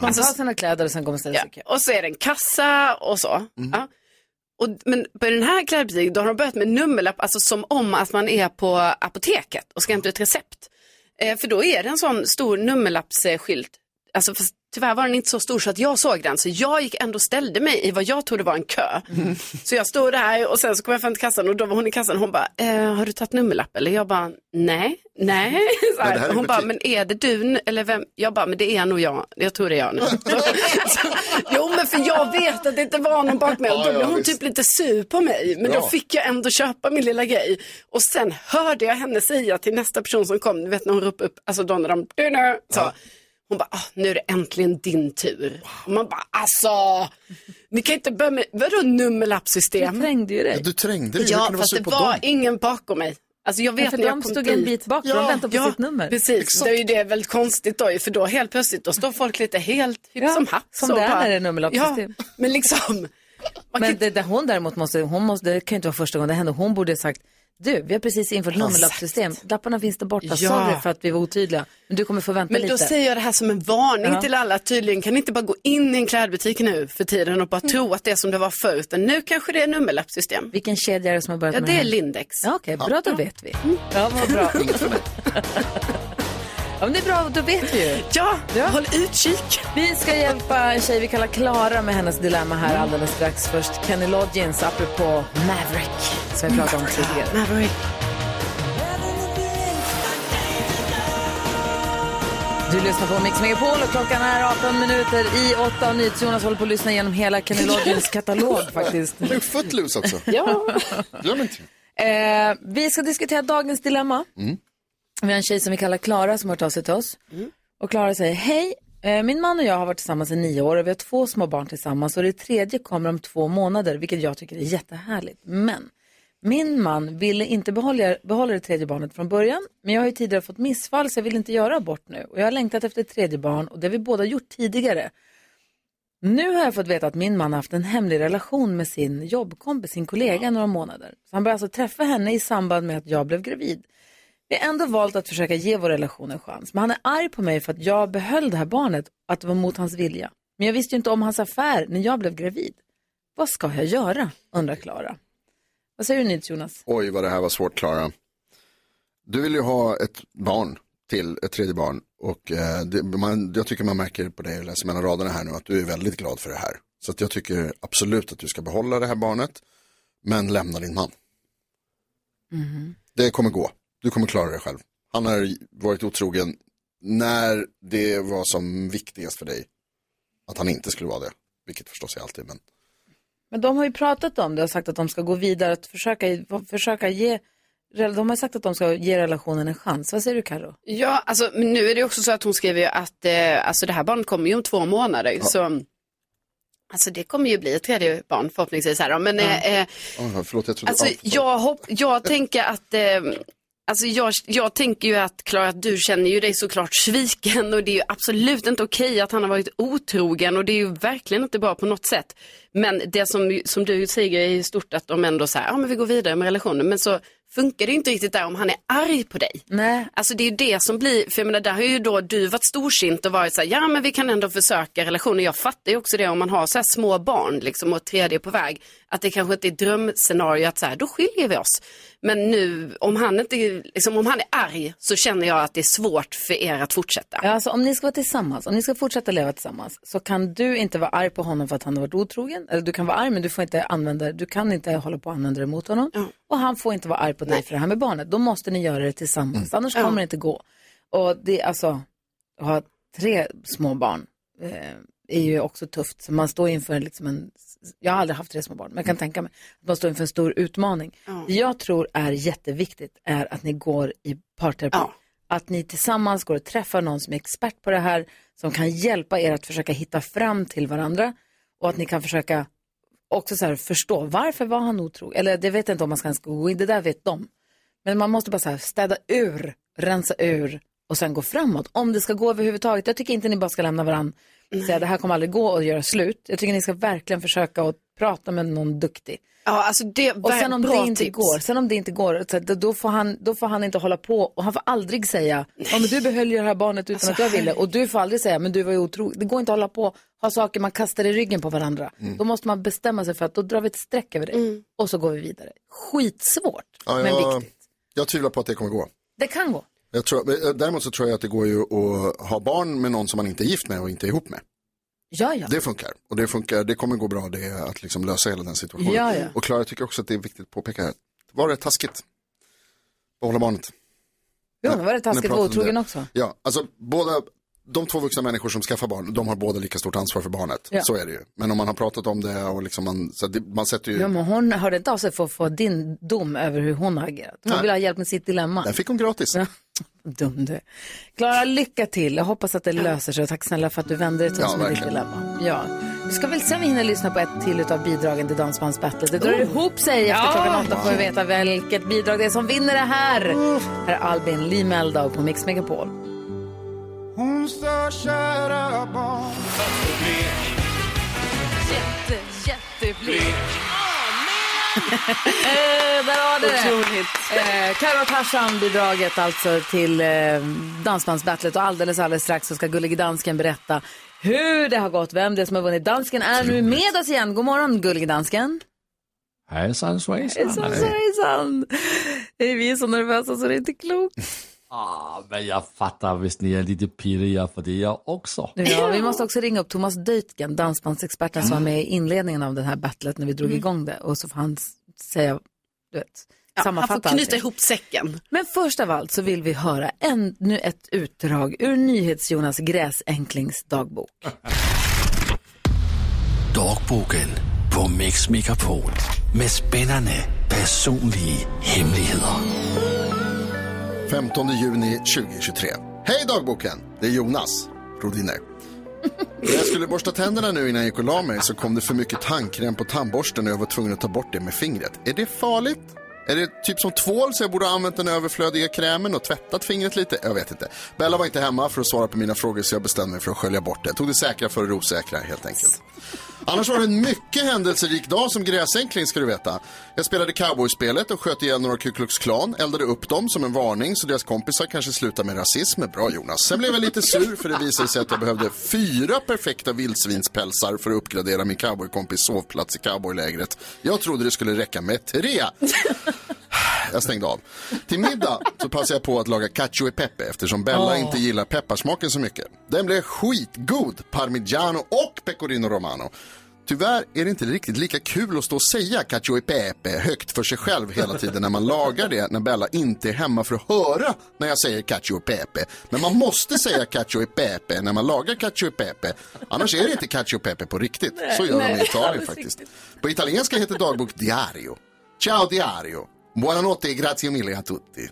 Speaker 1: Man
Speaker 3: Alltså,
Speaker 1: tar sina kläder och sen går man och ställer
Speaker 3: Ja.
Speaker 1: sig i kö.
Speaker 3: Och så är det en kassa och så. Ja. Och, men på den här klädbutiken, då har de börjat med nummerlapp, alltså som om att man är på apoteket och ska hämta ett recept. Eh, för då är det en sån stor nummerlappsskylt. Alltså fast, tyvärr var den inte så stor så att jag såg den, så jag gick ändå och ställde mig i vad jag trodde var en kö.
Speaker 10: Mm.
Speaker 3: Så jag stod där och sen så kom jag fram till kassan och då var hon i kassan och hon bara, eh, har du tagit nummerlapp eller? Jag bara, nej, nej. Så
Speaker 10: det här
Speaker 3: här.
Speaker 10: är
Speaker 3: Hon bara,
Speaker 10: butik.
Speaker 3: men är det du nu? eller vem? Jag bara, men det är nog jag, jag tror det är jag nu. <laughs> Jo, men för jag vet att det inte var någon bak mig. Och
Speaker 1: Ja,
Speaker 3: då
Speaker 1: ja,
Speaker 3: blev hon
Speaker 1: visst.
Speaker 3: typ lite sur på mig. Men
Speaker 1: Bra.
Speaker 3: då fick jag ändå köpa min lilla grej. Och sen hörde jag henne säga till nästa person som kom, du vet när hon ropade upp, alltså då när de, du nu, så. Hon bara, ah, nu är det äntligen din tur. Och man bara, alltså, ni kan inte börja med, vadå nummerlappssystem?
Speaker 1: Du trängde ju dig.
Speaker 2: Du trängde dig. Hur
Speaker 3: Ja,
Speaker 2: kan du vara
Speaker 3: fast
Speaker 2: sur
Speaker 3: det
Speaker 2: på
Speaker 3: var
Speaker 2: dem?
Speaker 3: ingen bakom mig. Alltså jag vet
Speaker 1: Ja, för
Speaker 3: när jag
Speaker 1: de
Speaker 3: kom
Speaker 1: stod
Speaker 3: dit.
Speaker 1: en bit bak, de väntade på sitt nummer.
Speaker 3: Precis,
Speaker 1: Exakt.
Speaker 3: det är ju det väldigt konstigt då, ju, för då helt plötsligt då står folk lite helt hipp som happ.
Speaker 1: Som
Speaker 3: så
Speaker 1: det är
Speaker 3: bara-
Speaker 1: när det är nummerlappssystem.
Speaker 3: Ja, men liksom.
Speaker 1: Men det, det hon däremot måste, hon måste, det kan ju inte vara första gången det händer, hon borde ha sagt du, vi har precis infört
Speaker 3: Ja,
Speaker 1: nummerlappssystem. Lapparna finns där borta,
Speaker 3: Ja.
Speaker 1: sorry för att vi var otydliga. Men du kommer få vänta
Speaker 3: Men
Speaker 1: lite.
Speaker 3: då säger jag det här som en varning
Speaker 1: Ja.
Speaker 3: till alla, att tydligen kan ni inte bara gå in i en klädbutik nu för tiden och bara
Speaker 1: Mm.
Speaker 3: tro att det är som det var förr, utan nu kanske det är nummerlappssystem.
Speaker 1: Vilken kedja är det som har börjat
Speaker 3: Ja,
Speaker 1: med
Speaker 3: det
Speaker 1: här?
Speaker 3: är Lindex.
Speaker 1: Ja, Okej, bra, då
Speaker 3: Ja. Mm.
Speaker 1: vet vi. Ja, vad bra. Ja, men det är bra, då vet vi ju.
Speaker 3: Ja, håll utkik.
Speaker 1: Vi ska hjälpa en tjej vi kallar Klara med hennes dilemma
Speaker 3: Mm.
Speaker 1: här alldeles strax. Först Kenny Loggins, apropå Maverick, som vi pratade om tidigare.
Speaker 3: Maverick.
Speaker 1: Du lyssnar på Mix Megapol och klockan är 18 minuter i 8 och NyhetsJonas håller på att lyssna igenom hela Kenny Loggins katalog
Speaker 2: <laughs>
Speaker 1: faktiskt.
Speaker 2: Det är Footloose också.
Speaker 1: <laughs>
Speaker 2: typ.
Speaker 1: Ja.
Speaker 2: Glöm inte.
Speaker 1: Eh, vi ska diskutera dagens dilemma.
Speaker 2: Mm.
Speaker 1: Vi har en tjej som vi kallar Klara som har hört av sig till oss. Och Klara säger, hej, eh, min man och jag har varit tillsammans i nio år och vi har två små barn tillsammans och det tredje kommer om två månader, vilket jag tycker är jättehärligt. Men min man ville inte behålla, behålla det tredje barnet från början, men jag har ju tidigare fått missfall så jag vill inte göra abort nu. Och jag har längtat efter ett tredje barn och det har vi båda gjort tidigare. Nu har jag fått veta att min man har haft en hemlig relation med sin jobbkompis, sin kollega i några månader. Så han började alltså träffa henne i samband med att jag blev gravid. Vi har ändå valt att försöka ge vår relation en chans. Men han är arg på mig för att jag behöll det här barnet, att det var mot hans vilja. Men jag visste ju inte om hans affär när jag blev gravid. Vad ska jag göra? undrar Klara. Vad säger du Nils Jonas?
Speaker 2: Oj, vad det här var svårt, Klara. Du vill ju ha ett barn till, ett tredje barn. Och eh, det, man, jag tycker man märker på dig och läser mellan raderna här nu att du är väldigt glad för det här. Så att jag tycker absolut att du ska behålla det här barnet, men lämna din man. Det kommer gå. Du kommer klara det själv. Han har varit otrogen när det var som viktigast för dig. Att han inte skulle vara det. Vilket förstås är alltid, men
Speaker 1: Men de har ju pratat om det och sagt att de ska gå vidare, att försöka, försöka ge, de har sagt att de ska ge relationen en chans. Vad säger du Karo?
Speaker 3: <laughs> Ja, alltså men nu är det också så att hon skriver ju att eh, alltså det här barnet kommer ju om två månader. Så, alltså det kommer ju bli ett tredje barn förhoppningsvis. Här, då. men eh, eh,
Speaker 2: oh, förlåt, jag trodde...
Speaker 3: Alltså,
Speaker 2: ja, förlåt.
Speaker 3: jag, hopp, jag tänker att, eh, alltså jag, jag tänker ju att Klara, att du känner ju dig såklart sviken och det är ju absolut inte okej att han har varit otrogen och det är ju verkligen inte bra på något sätt. Men det som, som du säger är ju stort att de ändå säger, ja men vi går vidare med relationen, men så funkar det ju inte riktigt där om han är arg på dig.
Speaker 1: Nej.
Speaker 3: Alltså det är ju det som blir, för jag menar där har ju då du varit storsint och varit så här, ja men vi kan ändå försöka relationer. Jag fattar ju också det om man har så här små barn liksom och tredje på väg, att det kanske inte är drömscenario att så här, då skiljer vi oss. Men nu, om han, inte, liksom, om han är arg så känner jag att det är svårt för er att fortsätta.
Speaker 1: Ja, Alltså, om ni ska vara tillsammans, om ni ska fortsätta leva tillsammans så kan du inte vara arg på honom för att han har varit otrogen. Eller du kan vara arg men du får inte använda, du kan inte hålla på och använda det mot honom. Och han får inte vara arg på dig för det här med barnet. Då måste ni göra det tillsammans, annars kommer det inte gå. Och det, är alltså, att ha tre små barn eh, är ju också tufft. Så man står inför liksom en, jag har aldrig haft tre små barn, men jag kan tänka mig att man står inför en stor utmaning. Det Jag tror är jätteviktigt är att ni går i parterapi. Att ni tillsammans går och träffar någon som är expert på det här, som kan hjälpa er att försöka hitta fram till varandra och att ni kan försöka också så här förstå varför var han otrogen? Eller det vet jag inte om man ska ens gå in, det där vet de. Men man måste bara så här städa ur, rensa ur och sen gå framåt. Om det ska gå överhuvudtaget. Jag tycker inte ni bara ska lämna varandra och säga det här kommer aldrig gå och göra slut. Jag tycker ni ska verkligen försöka att prata med någon duktig.
Speaker 3: Ja, alltså det
Speaker 1: Och sen om, det inte går, sen om det inte går, så att då- då får, han, då får han inte hålla på och han får aldrig säga, ja men du behöll ju det här barnet utan
Speaker 3: Alltså,
Speaker 1: att jag ville
Speaker 3: herregud.
Speaker 1: och du får aldrig säga, men du var ju otrogen. Det går inte att hålla på och ha saker man kastar i ryggen på varandra.
Speaker 2: Mm.
Speaker 1: Då måste man bestämma sig för att då drar vi ett streck över det
Speaker 3: Mm.
Speaker 1: och så går vi vidare. Skitsvårt,
Speaker 2: Ja,
Speaker 1: men
Speaker 2: jag,
Speaker 1: viktigt.
Speaker 2: jag tvivlar på att det kommer gå.
Speaker 1: Det kan gå.
Speaker 2: Jag tror, men, eh, däremot så tror jag att det går ju att ha barn med någon som man inte är gift med och inte är ihop med.
Speaker 1: Ja, ja.
Speaker 2: Det funkar. Och det funkar, det kommer gå bra det att liksom lösa hela den situationen.
Speaker 1: Ja, ja.
Speaker 2: Och Klara tycker också att det är viktigt att påpeka här. Var det taskigt? Behålla barnet.
Speaker 1: Jo, men var det taskigt att vara
Speaker 2: pratade om
Speaker 1: otrogen
Speaker 2: det.
Speaker 1: också?
Speaker 2: Ja, alltså båda, de två vuxna människor som skaffar barn, de har båda lika stort ansvar för barnet.
Speaker 1: Ja.
Speaker 2: Så är det ju. Men om man har pratat om det och liksom man, så att det, man sätter ju...
Speaker 1: Ja, men hon hörde inte av sig för att få din dom över hur hon har agerat. Hon
Speaker 2: Nej.
Speaker 1: ville ha hjälp med sitt dilemma.
Speaker 2: Den fick hon gratis.
Speaker 1: Ja. Dum du. Klara, lycka till. Jag hoppas att det löser sig. Och tack snälla för att du vände dig till
Speaker 2: Ja,
Speaker 1: oss med ditt
Speaker 2: verkligen.
Speaker 1: dilemma. Ja. Vi ska väl se om vi hinner lyssna på ett till av bidragen till Dansbandsbattlet. Det drar
Speaker 3: Oh.
Speaker 1: ihop sig efter
Speaker 3: Ja.
Speaker 1: klockan åtta får vi veta vilket bidrag det är som vinner det här. Här är Albin Lee Meldau på Mix Megapol. <laughs>
Speaker 4: Hon stör kära barn
Speaker 1: Jätte, jätteblick. Eh, Där har du
Speaker 3: Otroligt.
Speaker 1: det. Eh, Karo och Tarzan-bidraget alltså till eh, Dansbandsbattlet och alldeles alldeles strax så ska Gullige Dansken berätta hur det har gått, vem det är som har vunnit. Dansken är nu med oss igen. God morgon Gullige Dansken.
Speaker 9: Hejsan svejsan.
Speaker 1: Hejsan svejsan. Vi är så nervösa så det är inte klokt.
Speaker 9: Ah, men jag fattar visst ni är lite pirriga för det är jag också.
Speaker 1: Ja, vi måste också ringa upp Thomas Deutgen, dansbandsexperten som var med i inledningen av det här battlet när vi drog
Speaker 3: Mm.
Speaker 1: igång det. Och så får han s- säga, du vet,
Speaker 3: Ja,
Speaker 1: sammanfatta
Speaker 3: han får knyta
Speaker 1: allting.
Speaker 3: ihop säcken.
Speaker 1: Men först av allt så vill vi höra en, nu ett utdrag ur NyhetsJonas Gräsänklings dagbok.
Speaker 18: Dogbogen på Mix Megapol med spännande personliga hemligheter.
Speaker 2: 15 juni 2023. Hej dagboken! Det är Jonas Rodiner. När jag skulle borsta tänderna nu innan jag gick och la mig så kom det för mycket tandkräm på tandborsten och jag var tvungen att ta bort det med fingret. Är det farligt? Är det typ som tvål så jag borde ha använt den överflödiga krämen och tvättat fingret lite? Jag vet inte. Bella var inte hemma för att svara på mina frågor så jag bestämde mig för att skölja bort det. Jag tog det säkra för det osäkra helt enkelt. Annars var det en mycket händelserik dag som gräsänkling ska du veta. Jag spelade cowboyspelet och sköt ihjäl några Ku Klux Klan, eldade upp dem som en varning så deras kompisar kanske slutar med rasism. Bra Jonas. Sen blev jag lite sur för det visade sig att jag behövde fyra perfekta vildsvinspälsar för att uppgradera min cowboykompis sovplats i cowboylägret. Jag trodde det skulle räcka med tre. Jag stängde av. Till middag så passade jag på att laga cacio e pepe eftersom Bella
Speaker 19: Åh.
Speaker 2: inte gillar pepparsmaken så mycket. Den blev skitgod, parmigiano och pecorino romano. Tyvärr är det inte riktigt lika kul att stå och säga cacio e pepe högt för sig själv hela tiden när man lagar det när Bella inte är hemma för att höra när jag säger cacio e pepe. Men man måste säga cacio e pepe när man lagar cacio e pepe. Annars är det inte cacio e pepe på riktigt. Så gör de i
Speaker 19: Nej,
Speaker 2: Italien
Speaker 19: alldeles
Speaker 2: faktiskt. På italienska heter dagbok diario. Ciao diario. Buonanotte e grazie mille a tutti.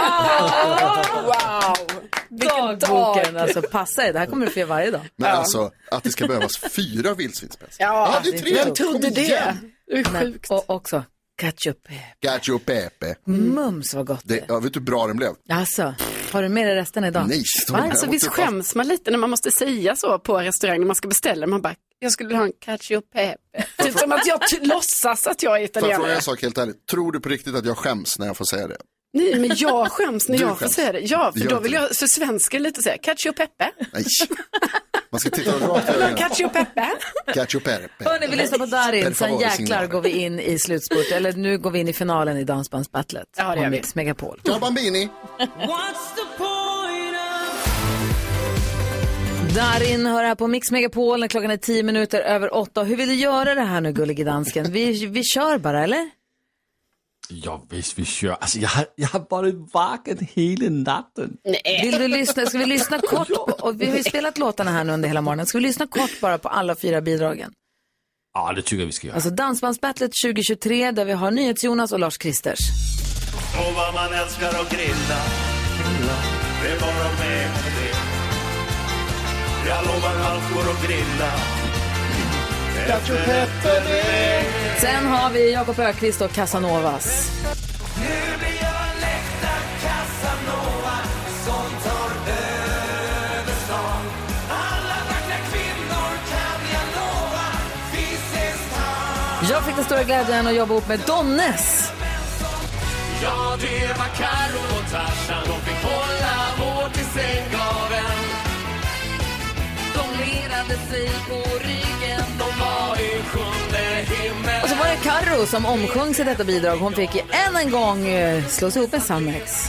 Speaker 3: Ah,
Speaker 1: Wow! Vilken Dagboken, alltså passa er. Det här kommer du få göra varje dag.
Speaker 2: Men alltså att det ska behövas fyra vildsvinspälsar.
Speaker 1: Ja,
Speaker 2: det är tre.
Speaker 1: Vem trodde det?
Speaker 3: Det är
Speaker 1: sjukt. Och också ketchup. Mm.
Speaker 2: Cacio e pepe.
Speaker 1: Mums vad gott.
Speaker 2: Det, ja, vet du hur bra den blev?
Speaker 1: Alltså, har du med dig resten idag?
Speaker 2: Nej,
Speaker 3: Va? Alltså, visst skäms man lite när man måste säga så på restaurang när man ska beställa. Man bara, jag skulle vilja ha en cacio e pepe. <laughs> Typ som att jag t- låtsas att jag är
Speaker 2: Får jag fråga
Speaker 3: italienare.
Speaker 2: en sak helt ärligt? Tror du på riktigt att jag skäms när jag får säga det?
Speaker 3: Nej, men jag skäms när
Speaker 2: Du
Speaker 3: jag får
Speaker 2: skäms.
Speaker 3: säga det. Ja, för
Speaker 2: Det gör
Speaker 3: då
Speaker 2: inte
Speaker 3: vill jag för svenska lite säga cacio e pepe.
Speaker 2: Nej. Man ska titta dem rakt i ögonen.
Speaker 19: Cacio Peppe.
Speaker 2: Cacio Pepe.
Speaker 1: Hörni, vi lyssnar på
Speaker 2: Per
Speaker 1: Darin, sen
Speaker 2: favore,
Speaker 1: jäklar
Speaker 2: signore.
Speaker 1: går vi in i slutspurt. Eller nu går vi in i finalen i Dansbandsbattlet.
Speaker 2: Ja, det gör
Speaker 1: På
Speaker 2: vi.
Speaker 1: Mix Megapol.
Speaker 2: Ja, Bambini.
Speaker 1: Darin hör här på Mix Megapol när klockan är tio minuter över åtta. Hur vill du göra det här nu, gullige dansken? Vi, vi kör bara, eller?
Speaker 20: Jo, hvis vi kör. Alltså, jag har, jag har varit vaken hela natten.
Speaker 1: Vill du lyssna? Ska vi lyssna kort? På, och vi har ju spelat låtarna här nu under hela morgonen. Ska vi lyssna kort bara på alla fyra bidragen?
Speaker 20: Ja, Ah, det tycker jag vi ska göra.
Speaker 1: Alltså Dansbandsbattlet 2023 där vi har NyhetsJonas och Lars Kristers.
Speaker 9: Och vad man älskar att grilla. Det är bara med om det. Jag lovar allt går att grilla. Efter
Speaker 1: Sen har vi Jakob Ökvist och Casanovas.
Speaker 9: Casanova som tar över stan. Alla vackra kvinnor kan jag lova. Vi ses här.
Speaker 1: Jag fick den stora glädjen att jobba ihop med Donnes.
Speaker 9: Ja, det var Karo och Tarzan. De fick hålla hårt i sänggaveln. De lirade sig på ryggen. De var i sjunde himmel.
Speaker 1: Och så var det Carro som omsjöng sig detta bidrag. Hon fick ju än en gång eh, slås ihop med Sannex.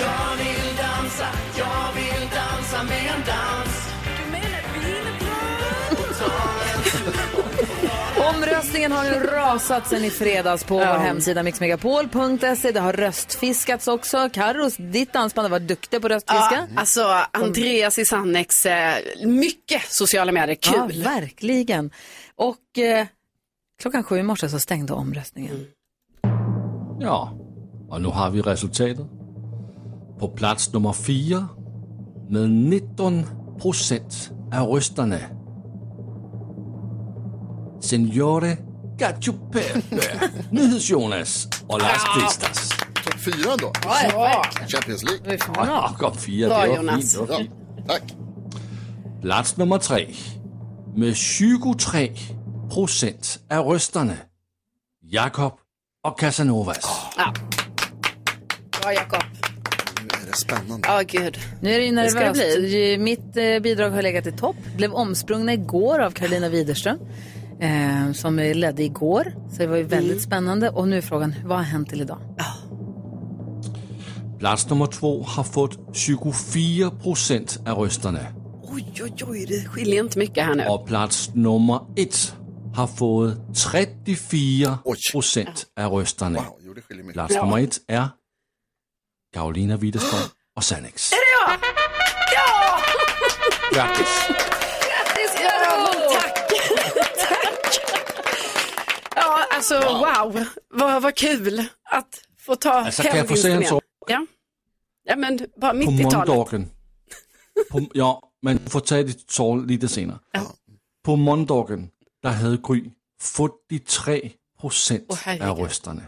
Speaker 9: Jag vill dansa, jag vill dansa med en dans. Du menar
Speaker 1: Omröstningen har nu rasat sen i fredags på vår hemsida mixmegapol.se. Det har röstfiskats också. Carros, ditt dansband var duktiga på röstfiska. Mm.
Speaker 3: Ja, alltså Andreas i Sannex, eh, mycket sociala medier, kul.
Speaker 1: Ja, verkligen. Och eh, klockan sju i morse så stängde omröstningen.
Speaker 20: Ja, och nu har vi resultatet. På plats nummer fyra med 19 procent av rösterna. Signore Cacio Pepe, Nyhets-Jonas och Lars Christers.
Speaker 2: Fyra då.
Speaker 3: Bra.
Speaker 2: Champions League.
Speaker 20: Ja, kom fyra, det
Speaker 2: Bra,
Speaker 20: var
Speaker 2: Jonas.
Speaker 20: fint. det var
Speaker 2: Ja,
Speaker 20: fint. Plats nummer tre med 23 procent av rösterna. Jakob och Casanovas.
Speaker 3: Bra Jakob.
Speaker 2: Nu är det spännande.
Speaker 3: Ja, gud.
Speaker 1: Nu är det ju
Speaker 3: Det ska det
Speaker 1: nervöst. Ju- Mitt eh, bidrag har legat i topp. Blev omsprungna igår av Karolina Widerström. Eh, som eh, ledde igår. Så det var
Speaker 3: Mm.
Speaker 1: ju väldigt spännande. Och nu är frågan, vad har hänt till idag?
Speaker 20: Plats nummer två har fått 24 procent av rösterna.
Speaker 3: Oj, oj, oj, det skiljer inte mycket här nu.
Speaker 20: Och plats nummer ett har fått 34 procent av rösterna. Plats
Speaker 3: Ja.
Speaker 20: nummer ett är Karolina Widerström och Sannex.
Speaker 3: Är det jag? Ja!
Speaker 20: Grattis!
Speaker 3: Grattis Karol! Tack! Tack! Ja, alltså wow, vad, vad kul att få ta
Speaker 20: Alltså, kan
Speaker 3: hem
Speaker 20: jag få säga en
Speaker 3: vinsten
Speaker 20: sak?
Speaker 3: igen. Ja. ja, men bara
Speaker 20: På
Speaker 3: mitt i talet.
Speaker 20: måndagen. På, ja, men du får ta ditt tal lite senare. På måndagen, där hade Gry 43 procent
Speaker 3: Åh, herregud.
Speaker 20: av rösterna.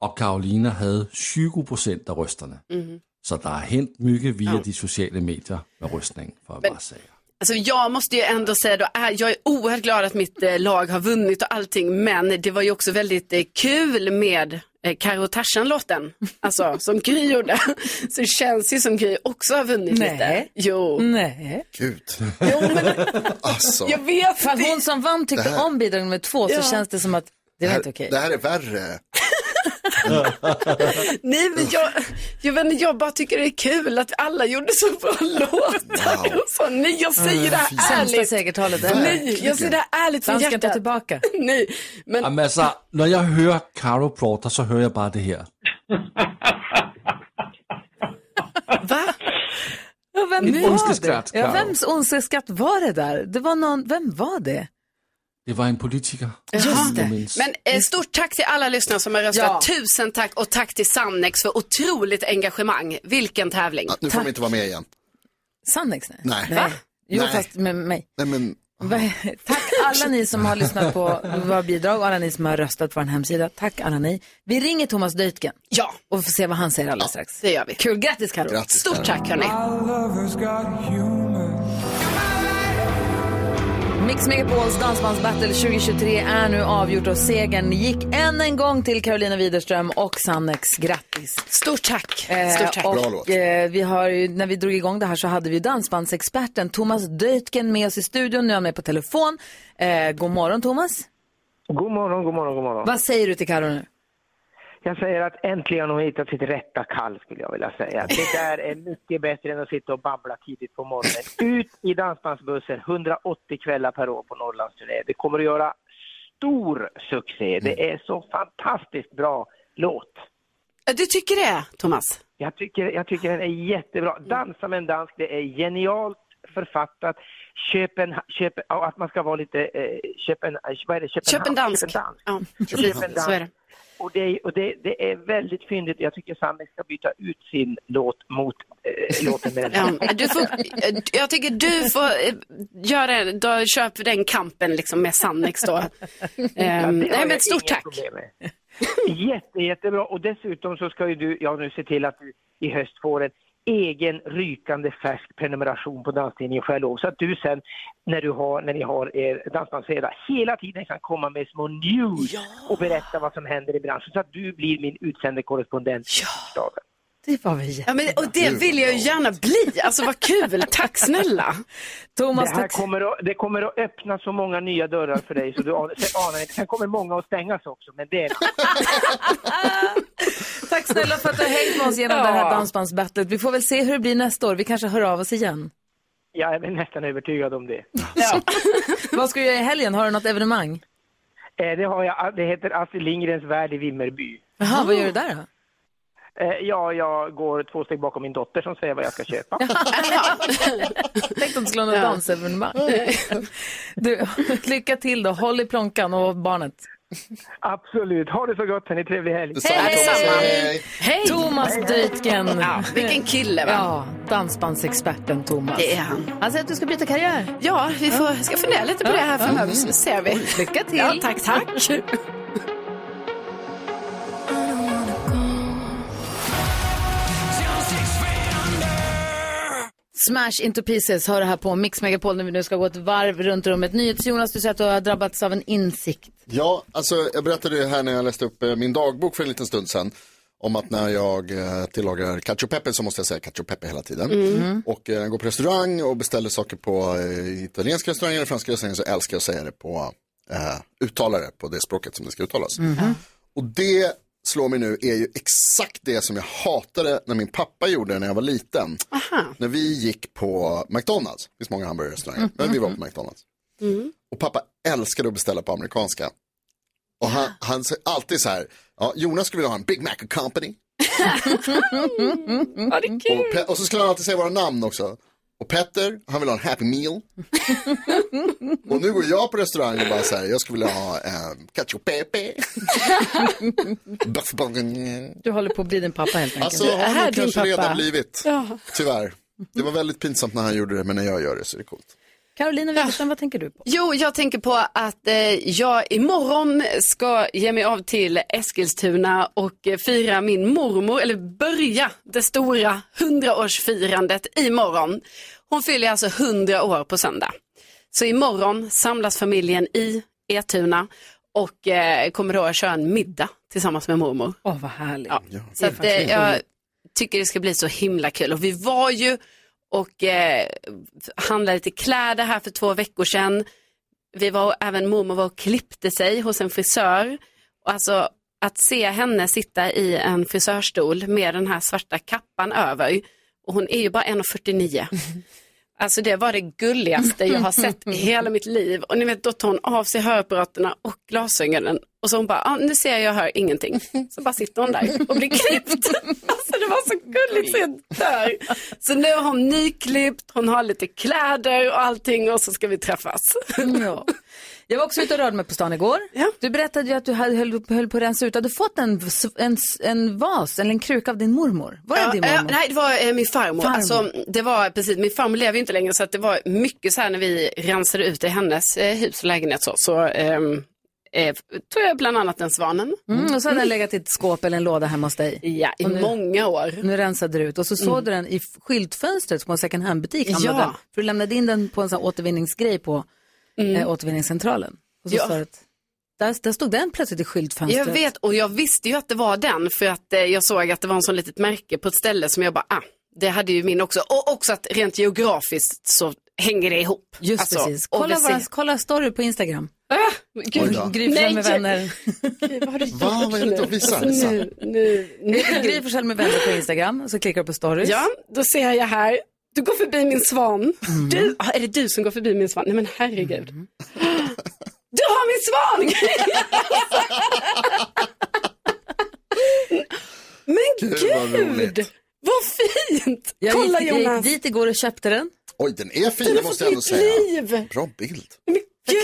Speaker 20: Och Karolina hade 20 procent av rösterna.
Speaker 3: Mhm.
Speaker 20: Så det har hänt mycket via de sociala medier med röstning, för att
Speaker 3: Men-
Speaker 20: bara säga.
Speaker 3: Alltså jag måste ju ändå säga då, äh, jag är oerhört glad att mitt eh, lag har vunnit och allting, men det var ju också väldigt eh, kul med eh, Karo Tarzan-låten, alltså som Gry gjorde. <laughs> Så det känns ju som Gry också har vunnit
Speaker 1: Nej.
Speaker 3: lite.
Speaker 4: Mm.
Speaker 3: Jo.
Speaker 1: Nej.
Speaker 2: Gud.
Speaker 1: Så.
Speaker 2: alltså.
Speaker 3: Jag vet
Speaker 1: Eh. För att hon som vann tyckte
Speaker 2: Det här-
Speaker 1: om bidrag nummer två
Speaker 3: Ja.
Speaker 1: så känns det som att det var
Speaker 2: här-
Speaker 1: inte okej.
Speaker 2: Det här är värre.
Speaker 3: Nej, men jag, jag, vet inte, jag bara tycker det är kul att alla gjorde så
Speaker 2: <laughs>
Speaker 3: bra låtar. Och så, nej, jag
Speaker 2: Mm,
Speaker 3: säger det här
Speaker 1: Sämsta
Speaker 3: ärligt.
Speaker 1: segertalet
Speaker 3: Nej, jag säger det här ärligt från
Speaker 1: Dansken, ta
Speaker 3: hjärtat.
Speaker 1: tillbaka.
Speaker 3: <laughs> Nej, men
Speaker 20: Jamen, altså, når jeg hører Caro prata, så hører jeg bare det her.
Speaker 1: Ja, vem
Speaker 20: Mitt
Speaker 1: var det?
Speaker 20: ondskeskatt,
Speaker 1: Ja,
Speaker 20: Karo.
Speaker 1: vems ondskeskatt var det där? Det var någon, vem var det?
Speaker 20: Det var en politiker.
Speaker 3: Just
Speaker 20: Jeg mindes.
Speaker 3: Men eh, stort tack till alla lyssnare som har röstat. Tusen tack och tack till Sannex för otroligt engagemang. Vilken tävling.
Speaker 2: Nu får de inte vara med igen.
Speaker 1: Sannex? Nej.
Speaker 2: Nej.
Speaker 1: Nej. Jo,
Speaker 2: Nej.
Speaker 1: fast med mig.
Speaker 2: Nej, men
Speaker 1: Va- <laughs> Tack alla ni som har lyssnat på våra bidrag och alla ni som har röstat på vår hemsida. Tack alla ni. Vi ringer Thomas Deutgen.
Speaker 3: Ja.
Speaker 1: Och får se vad han säger alldeles strax.
Speaker 3: Det gör vi.
Speaker 1: Kul. Grattis Karo.
Speaker 3: Grattis, Stort Karo. tack, hörni.
Speaker 1: Mix Megapols dansbandsbattle 2023 är nu avgjort och segern gick än en gång till Carolina Widerström och Sannex. Grattis!
Speaker 3: Stort tack!
Speaker 1: Eh,
Speaker 3: Stort tack.
Speaker 1: Och, eh, vi har ju, när vi drog igång det här så hade vi ju dansbandsexperten Thomas Dötgen med oss i studion. Nu är han med på telefon. Eh, god morgon Thomas.
Speaker 19: God morgon, god morgon, god morgon.
Speaker 1: Vad säger du till Karo nu?
Speaker 19: Jag säger att äntligen har hon hittat sitt rätta kall skulle jag vilja säga. Det där är mycket bättre än att sitta och babbla tidigt på morgonen. Ut i dansbandsbussen 180 kvällar per år på Norrlandsturné. Det kommer att göra stor
Speaker 3: Mm.
Speaker 19: succé. Det är så fantastiskt bra låt.
Speaker 3: Du tycker det, Thomas?
Speaker 19: Jag tycker, jag tycker den är jättebra. Dansa med en dansk, det är genialt författat. Köpen, köpen, ja, att man ska vara lite, eh, köpen, vad är det?
Speaker 3: Köp en dansk. Ja, precis.
Speaker 19: Köpen
Speaker 3: Så är det.
Speaker 19: Och, det, och det, det är väldigt fyndigt. Jag tycker Sami ska byta ut sin låt mot
Speaker 3: <laughs>
Speaker 19: eh, låten med den.
Speaker 3: Ja, du får, eh, jag tycker du får eh, göra, då köper den kampen liksom med Sannex
Speaker 1: <laughs>
Speaker 3: då. Eh,
Speaker 19: Ja, det har
Speaker 3: nej
Speaker 19: jag
Speaker 3: men stort
Speaker 19: inga
Speaker 3: tack. <laughs>
Speaker 19: problem med. Jätte, jättebra. Och dessutom så ska ju du, jag nu se till att du i höst får en egen rykande färsk prenumeration på Danstidningen Själv så att du sen när, du har, när ni har er dansbandsfredag hela tiden kan komma med små news och berätta vad som händer i branschen så att du blir min utsände korrespondent i staden.
Speaker 1: Det var väl
Speaker 3: ja, men, Och det vill jag ju gärna bli. Alltså vad
Speaker 1: <laughs>
Speaker 3: kul. Tack snälla. Thomas,
Speaker 19: det, här
Speaker 3: tack.
Speaker 19: kommer att, det kommer att öppna så många nya dörrar för dig så du an- så anar inte. Sen kommer många att stängas också, men
Speaker 1: <laughs>
Speaker 19: det är
Speaker 1: Tack snälla för att du har hängt med oss genom
Speaker 19: Ja.
Speaker 1: det här dansbandsbattlet. Vi får väl se hur det blir nästa år. Vi kanske hör av oss igen.
Speaker 19: Jag är nästan övertygad om det.
Speaker 1: Vad ska du göra i helgen? Har du något evenemang?
Speaker 19: Eh, Det, har jag, det heter Astrid Lindgrens värld i Vimmerby.
Speaker 1: Jaha, vad gör du där då?
Speaker 19: Eh, Ja, jag går två steg bakom min dotter som säger vad jag ska
Speaker 1: <laughs>
Speaker 19: köpa.
Speaker 1: Tänkte att du skulle ha något
Speaker 19: Ja.
Speaker 1: dansevenemang. Du, <laughs> lycka till då. Håll i plånkan och barnet.
Speaker 19: Absolut. Ha det så gott, hörni. Trevlig helg.
Speaker 1: Hej!
Speaker 3: Hej!
Speaker 1: Thomas Dytgen.
Speaker 3: Ja, vilken kille, va?
Speaker 1: Ja, dansbandsexperten Thomas.
Speaker 3: Det är han.
Speaker 1: Han säger att du ska byta karriär.
Speaker 3: Ja, vi får, ska fundera lite på det här framöver så ser vi.
Speaker 1: Lycka till.
Speaker 3: Ja, tack, tack.
Speaker 1: Smash into pieces, hör det här på Mix Megapol när vi nu ska gå ett varv runt rummet. NyhetsJonas, du säger att du har drabbats av en
Speaker 3: <laughs>
Speaker 1: insikt.
Speaker 2: Ja, alltså jag berättade ju här när jag läste upp eh, min dagbok för en liten stund sedan. Om att när jag eh, tillagar cacio e pepe så måste jag säga cacio e pepe hela tiden.
Speaker 21: Mm.
Speaker 2: Och eh, jag går på restaurang och beställer saker på eh, italienska restauranger eller franska restauranger så älskar jag att säga det på eh, uttalare, på det språket som det ska uttalas.
Speaker 4: Mm.
Speaker 3: Mm-hmm.
Speaker 2: Och det slår mig nu är ju exakt det som jag hatade när min pappa gjorde det när jag var liten. När vi gick på McDonalds, det finns många hamburgerrestauranger, men vi var på McDonalds.
Speaker 1: Mm.
Speaker 2: Och pappa älskade att beställa på amerikanska. Och han, han säger alltid så här, ja, Jonas skulle vilja ha en Big Mac and Company.
Speaker 3: Ja, det är
Speaker 2: Och, Pe- och så skulle han alltid säga våra namn också. Och Petter, han vill ha en Happy Meal. och nu går jag på restaurang och bara så här, jag skulle vilja ha um, cacio e pepe. Buff bourguignon.
Speaker 1: Du håller på att bli din pappa helt enkelt.
Speaker 2: alltså har
Speaker 1: Är
Speaker 2: han
Speaker 1: din
Speaker 2: kanske
Speaker 1: pappa?
Speaker 2: redan blivit, tyvärr. Det var väldigt pinsamt när han gjorde det, men när jag gör det så är det coolt.
Speaker 1: Carolina Widerström, vad tänker du på?
Speaker 3: Jo, jag tänker på att eh, jag imorgon ska ge mig av till Eskilstuna och eh, fira min mormor, eller börja det stora 100-årsfirandet imorgon. Hon fyller alltså 100 år på söndag. Så imorgon samlas familjen i Etuna och eh, kommer då att köra en middag tillsammans med mormor.
Speaker 1: Åh, vad härligt.
Speaker 3: Ja. Så
Speaker 1: är
Speaker 3: att,
Speaker 1: faktiskt
Speaker 3: eh, jag
Speaker 1: roligt.
Speaker 3: tycker det ska bli så himla kul. Och vi var ju och eh, handlade lite kläder här för två veckor sedan. Vi var, även mormor var och klippte sig hos en frisör. Och alltså att se henne sitta i en frisörstol med den här svarta kappan över. Och hon är ju bara 1,49. Alltså det var det gulligaste jag har sett i hela mitt liv. Och ni vet, då tar hon av sig hörapparaterna och glasögonen. Och så hon bara, ah, nu ser jag och hör ingenting. Så bara sitter hon där och blir klippt. Alltså det var så gulligt så jag dör. Så nu har hon nyklippt, hon har lite kläder och allting och så ska vi träffas.
Speaker 1: Ja. Jag var också ute och rörde mig på stan igår. Du berättade ju att du hade- höll, höll på att rensa ut. Du hade fått en, s- en, s- en vas eller en kruka av din mormor. Var det
Speaker 3: Ja,
Speaker 1: din
Speaker 3: eh,
Speaker 1: mormor?
Speaker 3: nej, det var eh, min farmor.
Speaker 1: Farmor.
Speaker 3: Alltså, det var, precis, min farmor lever ju inte längre så att det var mycket så här när vi rensade ut i hennes eh, hus och lägenhet så, så ehm, eh, tog jag bland annat den svanen.
Speaker 1: Mm, och så hade den legat i ett skåp eller en låda hemma hos dig.
Speaker 3: Ja, i många år.
Speaker 1: Nu rensade du ut och så såg
Speaker 3: Mm.
Speaker 1: du den i f- skyltfönstret på en second hand-butik.
Speaker 3: Ja.
Speaker 1: hamnade den. För du lämnade in den på en sån här återvinningsgrej på eh, återvinningscentralen. Och så
Speaker 3: Mm. Ja.
Speaker 1: står det att, där, där stod den plötsligt i skyltfönstret.
Speaker 3: Jag vet och jag visste ju att det var den för att eh, jag såg att det var en sån litet märke på ett ställe som jag bara, ah, det hade ju min också. Och också att rent geografiskt så hänger det ihop.
Speaker 1: Just
Speaker 3: Alltså,
Speaker 1: precis.
Speaker 3: och
Speaker 1: Kolla,
Speaker 3: vi
Speaker 1: våra,
Speaker 3: ser-
Speaker 1: kolla story på Instagram.
Speaker 3: Oj
Speaker 1: Gud,
Speaker 3: då.
Speaker 1: Gry Forssell med
Speaker 3: Nej. <laughs>
Speaker 1: vänner.
Speaker 3: Va? Vad är det då? Visa, Alltså, visa. nu-
Speaker 1: Gry Forssell med vänner på Instagram, så klickar du på stories.
Speaker 3: Ja, då ser jag här. Du går förbi min svan. Du, ah, är det du som går förbi min svan? Nej men herregud.
Speaker 1: Mm.
Speaker 3: Du har min svan!
Speaker 1: <laughs>
Speaker 3: men
Speaker 2: Gud, vad
Speaker 3: gud,
Speaker 2: roligt.
Speaker 3: vad fint!
Speaker 1: Jag
Speaker 3: Kolla
Speaker 1: gick, Jag
Speaker 3: Jonas.
Speaker 1: gick dit igår och köpte den.
Speaker 2: Oj, den är fin,
Speaker 1: Den
Speaker 2: det
Speaker 1: har
Speaker 2: måste
Speaker 1: fått
Speaker 2: jag ändå
Speaker 1: nytt
Speaker 2: säga.
Speaker 3: liv.
Speaker 2: Bra bild.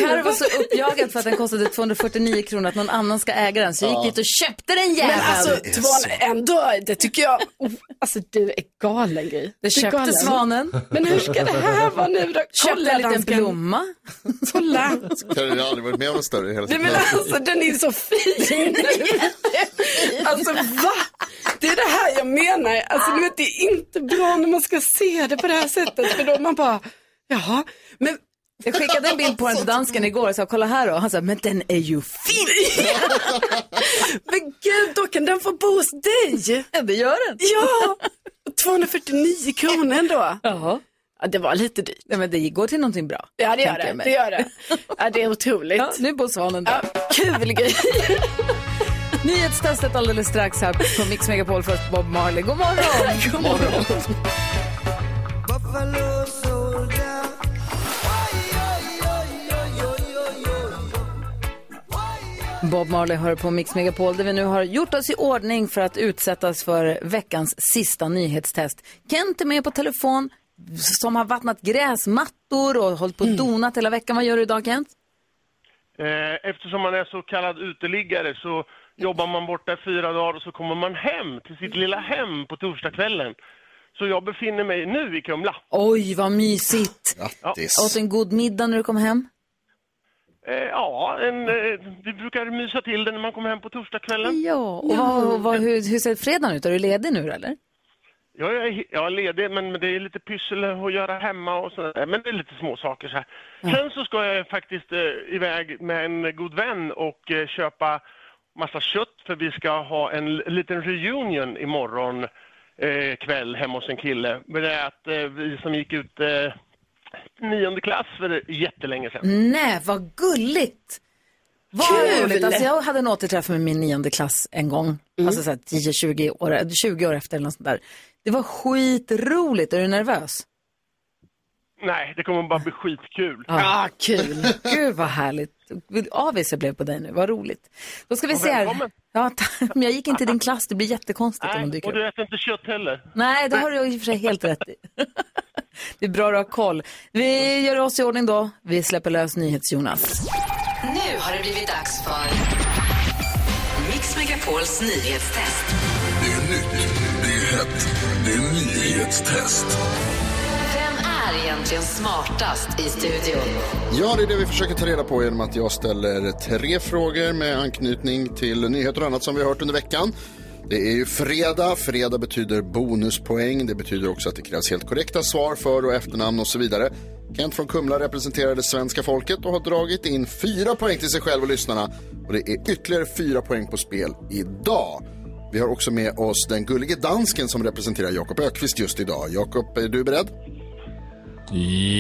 Speaker 1: Carro var så uppjagad för att den kostade 249 kronor att någon annan ska äga den. Så jag
Speaker 3: Ja.
Speaker 1: gick dit och köpte den jäveln.
Speaker 3: Men alltså, det var ändå, det tycker jag, oh, alltså du är galen Gry. Du
Speaker 1: Det
Speaker 3: är
Speaker 1: köpte
Speaker 3: galen.
Speaker 1: svanen.
Speaker 3: Men hur ska det här vara nu då?
Speaker 1: Köpte en liten
Speaker 3: dansken.
Speaker 1: blomma.
Speaker 3: Kolla.
Speaker 2: Karin har aldrig varit med om något större i hela
Speaker 3: Nej men alltså den är
Speaker 1: <laughs>
Speaker 3: så fin. Alltså va? Det är det här jag menar. Alltså du vet det är inte bra när man ska se det på det här sättet. För då man bara, jaha. Men Alltså,
Speaker 1: Jag skickade en bild på den till dansken igår och sa kolla här då. Han sa men den är ju fin.
Speaker 3: <laughs> Men gud, då kan den få bo hos dig.
Speaker 1: Ja, det gör den.
Speaker 3: Ja, 249 kronor ändå.
Speaker 1: Ja.
Speaker 3: Ja, det var lite dyrt.
Speaker 1: Nej, men det går till någonting bra.
Speaker 3: Ja, det gör
Speaker 1: tänker
Speaker 3: det.
Speaker 1: jag mig.
Speaker 3: Det gör det. Ja, det är otroligt.
Speaker 1: Ja, nu bor svanen
Speaker 3: där. kul grej.
Speaker 1: <laughs> Nyhetstestet alldeles strax här på Mix Megapol. Först Bob Marley. God morgon! <laughs> God morgon. Bob Marley hör på Mix Megapol där vi nu har gjort oss i ordning för att utsättas för veckans sista nyhetstest. Kent är med på telefon som har vattnat gräsmattor och hållit på och donat hela veckan. Vad gör du idag Kent?
Speaker 21: Eh, Eftersom man är så kallad uteliggare så jobbar man borta fyra dagar och så kommer man hem till sitt lilla hem på torsdagskvällen. Så jag befinner mig nu i Kumla.
Speaker 1: Oj, vad mysigt!
Speaker 21: Grattis.
Speaker 1: Åt en god middag när du kom hem?
Speaker 21: Eh, ja, en, eh, vi brukar mysa till det när man kommer hem på torsdagskvällen.
Speaker 1: Ja, och vad, och vad, hur, hur ser fredagen ut? Är du ledig nu eller?
Speaker 21: Ja, jag är, he- jag är ledig, men men det är lite pyssel att göra hemma och sådär. Men det är lite små saker så här. Sen så ska jag faktiskt eh, iväg med en god vän och eh, köpa massa kött för vi ska ha en l- liten reunion imorgon eh, kväll hemma hos en kille. Men det är att eh, vi som gick ut eh, nionde klass för jättelänge sedan.
Speaker 1: Nej, vad gulligt! Vad
Speaker 21: Mm. Kul!
Speaker 1: roligt! Alltså jag hade en återträff med min nionde klass en gång,
Speaker 21: Mm.
Speaker 1: alltså så här 10-20 år, 20 år efter eller något sånt där. Det var skitroligt, är du nervös?
Speaker 21: Nej, det kommer bara bli skitkul.
Speaker 1: Ja. <laughs> Gud vad härligt. Vad Avis jag blev på dig nu, vad roligt. Då ska vi
Speaker 21: Ja,
Speaker 1: se här.
Speaker 21: välkommen.
Speaker 1: Ja, tack. <laughs> men jag gick inte i din klass, det blir jättekonstigt om
Speaker 21: Nej,
Speaker 1: de dyker
Speaker 21: och
Speaker 1: upp.
Speaker 21: du äter inte kött heller.
Speaker 1: Nej, det har du i och för sig helt rätt i. <laughs> Det är bra att ha koll. Vi gör oss i ordning då. Vi släpper lös NyhetsJonas.
Speaker 7: Nu har det blivit dags för Mix Megapols nyhetstest.
Speaker 18: Det är nytt, det är hett, det är nyhetstest.
Speaker 7: Vem är egentligen smartast i studion?
Speaker 2: Ja, det är det vi försöker ta reda på genom att jag ställer tre frågor med anknytning till nyheter och annat som vi har hört under veckan. Det är ju fredag. Fredag betyder bonuspoäng. Det betyder också att det krävs helt korrekta svar för och efternamn och så vidare. Kent från Kumla representerar det svenska folket och har dragit in fyra poäng till sig själv och lyssnarna. Och det är ytterligare fyra poäng på spel idag. Vi har också med oss den gullige dansken som representerar Jakob Ökvist just idag. Jakob, är du beredd?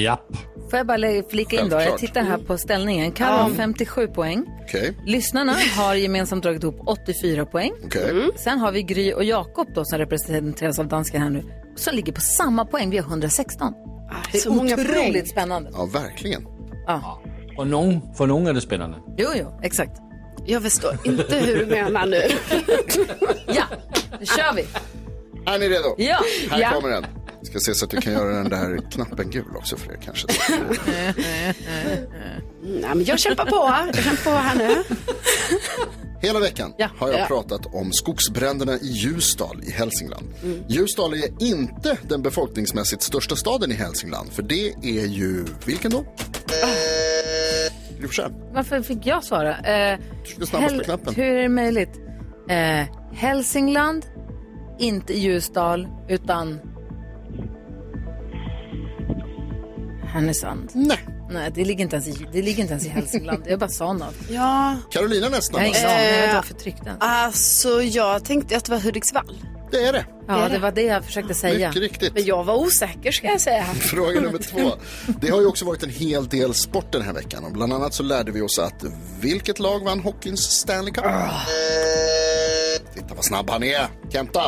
Speaker 20: Japp.
Speaker 1: Får jag bara lä- flika in då? Jag
Speaker 2: Självklart.
Speaker 1: tittar här på ställningen. Carro har 57 poäng.
Speaker 2: Okej.
Speaker 1: Lyssnarna har gemensamt dragit ihop 84 poäng.
Speaker 2: Okej. Mm.
Speaker 1: Sen har vi Gry och Jakob då som representeras av dansken här nu. Som ligger på samma poäng. Vi har 116. det är
Speaker 3: Ah, så många
Speaker 1: otroligt
Speaker 3: poäng.
Speaker 1: spännande.
Speaker 2: Ja, verkligen.
Speaker 1: Ja.
Speaker 20: Och någon, för någon är det spännande.
Speaker 1: Jo, jo, exakt.
Speaker 3: Jag förstår inte hur du menar nu.
Speaker 1: <laughs> Nu kör vi.
Speaker 2: Är ni redo?
Speaker 1: Ja.
Speaker 2: Här
Speaker 1: Ja.
Speaker 2: kommer den. Vi ska se så att du kan göra den där knappen gul också för er kanske.
Speaker 3: Nej, men jag kämpar på. Jag kämpar på här nu.
Speaker 2: Hela veckan har jag
Speaker 3: Ja.
Speaker 2: pratat om skogsbränderna i Ljusdal i Hälsingland.
Speaker 3: Mm.
Speaker 2: Ljusdal är inte den befolkningsmässigt största staden i Hälsingland, för det är ju vilken då?
Speaker 3: Ah.
Speaker 2: Gry Forssell.
Speaker 1: Varför fick jag svara? Eh,
Speaker 2: tryckte snabbast på
Speaker 1: Hel-
Speaker 2: knappen.
Speaker 1: Hur är det möjligt? Eh, Hälsingland, inte Ljusdal, utan Härnösand.
Speaker 2: Nej.
Speaker 1: Nej, det ligger inte ens i, det ligger inte ens i Hälsingland. Jag bara sa något.
Speaker 3: Ja.
Speaker 2: Carolina nästan.
Speaker 1: Jag har ingen aning. Jag vet inte
Speaker 3: Eh,
Speaker 1: varför jag tryckte den.
Speaker 3: Alltså, jag tänkte att det var Hudiksvall.
Speaker 2: Det är det.
Speaker 1: Ja, det var det jag försökte säga.
Speaker 2: Mycket riktigt.
Speaker 3: Men jag var osäker, ska jag säga.
Speaker 2: Fråga nummer två. Det har ju också varit en hel del sport den här veckan. Och bland annat så lärde vi oss att vilket lag vann hockeyns Stanley Cup? Titta vad snabb han är. Kenta.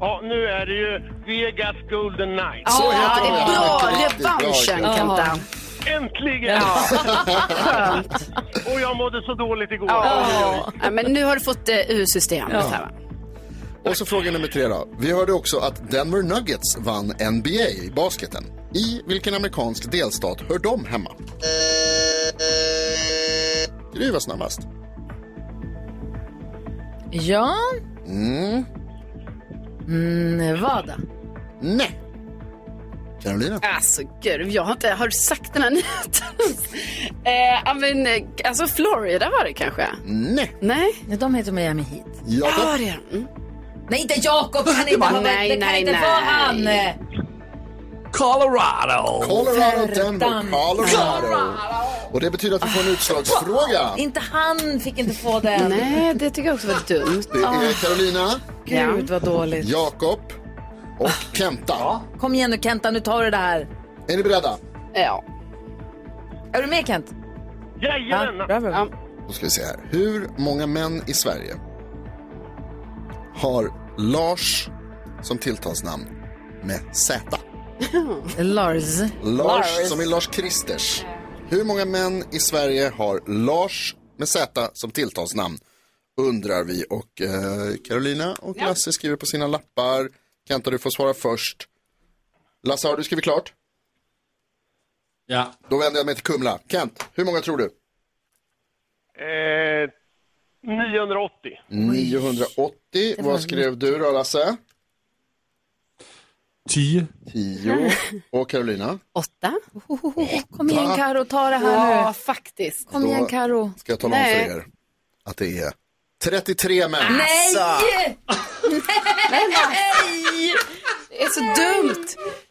Speaker 21: Ja, nu är det ju Vegas Golden Knights.
Speaker 2: Så Ja, heter det de, är ja. bra. Mycket riktigt bra,
Speaker 3: Revanschen,
Speaker 21: Kent.
Speaker 3: Kenta.
Speaker 21: Äntligen!
Speaker 3: Ja.
Speaker 21: Skönt. <laughs> Och jag mådde så dåligt igår.
Speaker 3: Ja. Ja, men nu har du fått det ur systemet.
Speaker 2: Ja.
Speaker 3: Här, va?
Speaker 2: Och så fråga nummer tre då. Vi hörde också att Denver Nuggets vann NBA i basketen. I vilken amerikansk delstat hör de hemma? Gry var snabbast.
Speaker 1: Ja,
Speaker 2: Mm.
Speaker 1: Nevada.
Speaker 2: Nej. Carolina.
Speaker 3: Alltså gud, jag har inte... Har du sagt den här nyheten? <laughs> eh, ja, men, eh, alltså Florida var det kanske?
Speaker 2: Nej.
Speaker 3: Nej.
Speaker 1: De heter Miami Heat.
Speaker 2: Ja,
Speaker 3: det är de.
Speaker 1: Nej, inte Jakob! Det kan inte, ha,
Speaker 3: Nej,
Speaker 1: det kan
Speaker 3: nej,
Speaker 1: inte
Speaker 3: nej.
Speaker 1: vara han!
Speaker 20: Colorado!
Speaker 2: Colorado,
Speaker 1: Verdant.
Speaker 2: Denver, Colorado. Och det betyder att vi får en utslagsfråga.
Speaker 1: Inte han fick inte få den.
Speaker 3: Nej, det tycker jag också var dumt.
Speaker 2: Det är Carolina,
Speaker 1: Gud, vad dåligt. Ah.
Speaker 2: Jakob och Kenta.
Speaker 1: Kom igen nu Kenta, nu tar du det här.
Speaker 2: Är ni beredda?
Speaker 3: Ja.
Speaker 1: Är du med Kent?
Speaker 21: Jajamän!
Speaker 1: Ja.
Speaker 2: Då ska vi se här. Hur många män i Sverige har Lars som tilltalsnamn med Z?
Speaker 1: Lars.
Speaker 2: Lars, som är Lars Kristers. Hur många män i Sverige har Lars med Z som tilltalsnamn? Undrar vi och eh, Carolina och Lasse skriver på sina lappar. Kenta du får svara först. Lasse har du skrivit klart?
Speaker 20: Ja.
Speaker 2: Då vänder jag mig till Kumla. Kent, hur många tror du?
Speaker 21: Eh, 980.
Speaker 2: 980.
Speaker 21: var
Speaker 2: Vad skrev du då Lasse?
Speaker 20: 10.
Speaker 2: 10. Och Carolina?
Speaker 3: Åtta.
Speaker 1: Kom igen Karo, ta det här
Speaker 3: Ja,
Speaker 1: nu.
Speaker 3: faktiskt.
Speaker 1: Kom igen
Speaker 2: Då-
Speaker 1: Karo.
Speaker 2: Ska jag tala om
Speaker 1: Nej.
Speaker 2: för er att det är Alltså! 33 män.
Speaker 1: Nej!
Speaker 3: Alltså. Nej! Det är så dumt.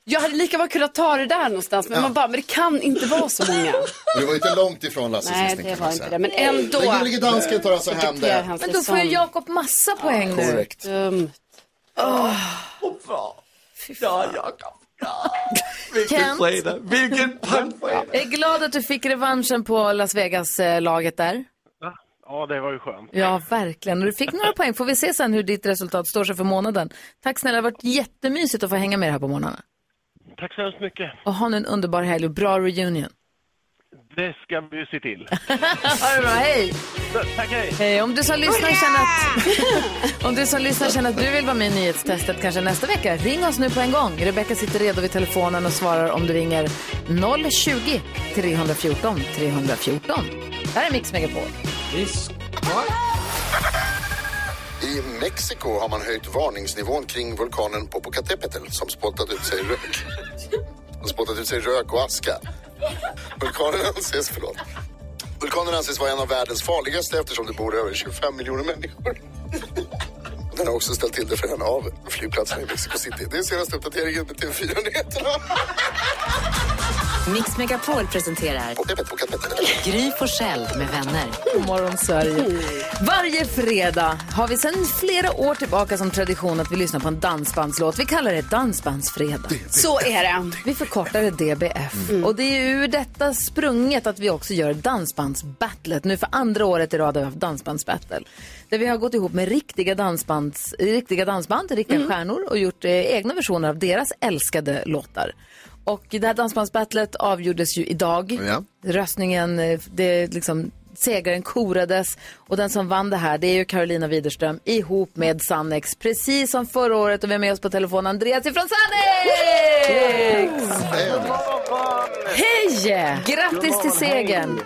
Speaker 3: Jag hade lika väl kunnat ta det där någonstans, men man bara, men det kan inte vara så många.
Speaker 2: Du var inte långt ifrån Lasse
Speaker 3: Nej,
Speaker 2: sist,
Speaker 3: det
Speaker 2: Alltså, kan
Speaker 3: var
Speaker 2: man
Speaker 3: inte
Speaker 2: säga.
Speaker 3: det, men ändå.
Speaker 2: Den gullige dansken tar alltså
Speaker 3: Så
Speaker 2: hem
Speaker 3: tycker jag
Speaker 2: det.
Speaker 3: han
Speaker 1: Men då får ju Jakob massa poäng nu.
Speaker 2: Korrekt.
Speaker 3: Dumt.
Speaker 20: Ja, Jakob.
Speaker 1: Kent.
Speaker 20: fredag. Vilken pangfredag.
Speaker 1: Jag är glad att du fick revanschen på Las Vegas-laget där.
Speaker 21: Ja, det var ju skönt.
Speaker 1: Ja, verkligen. Och du fick några poäng. Får vi se sen hur ditt resultat står sig för månaden. Tack snälla, det har varit jättemysigt att få hänga med här på morgnarna.
Speaker 21: Tack så hemskt mycket.
Speaker 1: Och ha nu en underbar helg och bra reunion.
Speaker 21: Det ska vi ju se till.
Speaker 1: <laughs> ha det bra, hej!
Speaker 21: Tack, hej!
Speaker 1: Hej, om du som lyssnar känner att, <laughs> om du som lyssnar känner att du vill vara med i nyhetstestet kanske nästa vecka, ring oss nu på en gång. Rebecka sitter redo vid telefonen och svarar om du ringer 020 314 314. Det här är Mix Megapol.
Speaker 2: I Mexiko har man höjt varningsnivån kring vulkanen Popocatépetl som spottat ut sig rök. Och spottat ut sig rök och aska. Vulkanen anses, förlåt. Vulkanen anses vara en av världens farligaste eftersom det bor över 25 miljoner människor. Den har också ställt till det för en av flygplatserna i Mexico City. Det är senaste uppdateringen med TV4-nyheterna.
Speaker 7: Mix Megapol presenterar Gry Forssell med vänner.
Speaker 1: God morgon, Sverige. Varje fredag har vi sedan flera år tillbaka som tradition att vi lyssnar på en dansbandslåt. Vi kallar det Dansbandsfredag.
Speaker 3: Så är det. Mm.
Speaker 1: Vi förkortar det DBF. Och det är ju ur detta sprunget att vi också gör Dansbandsbattlet. Nu för andra året i rad har vi haft Dansbandsbattle. Där vi har gått ihop med riktiga, dansbands, riktiga dansband, riktiga
Speaker 3: Mm.
Speaker 1: stjärnor och gjort eh, egna versioner av deras älskade låtar. Och det här Dansbandsbattlet avgjordes ju idag.
Speaker 2: Ja.
Speaker 1: Röstningen, eh, det liksom Segraren korades och den som vann det här det är ju Carolina Widerström ihop med Sannex precis som förra året och vi har med oss på telefon Andreas ifrån Sannex!
Speaker 3: Hej!
Speaker 1: Grattis till segern!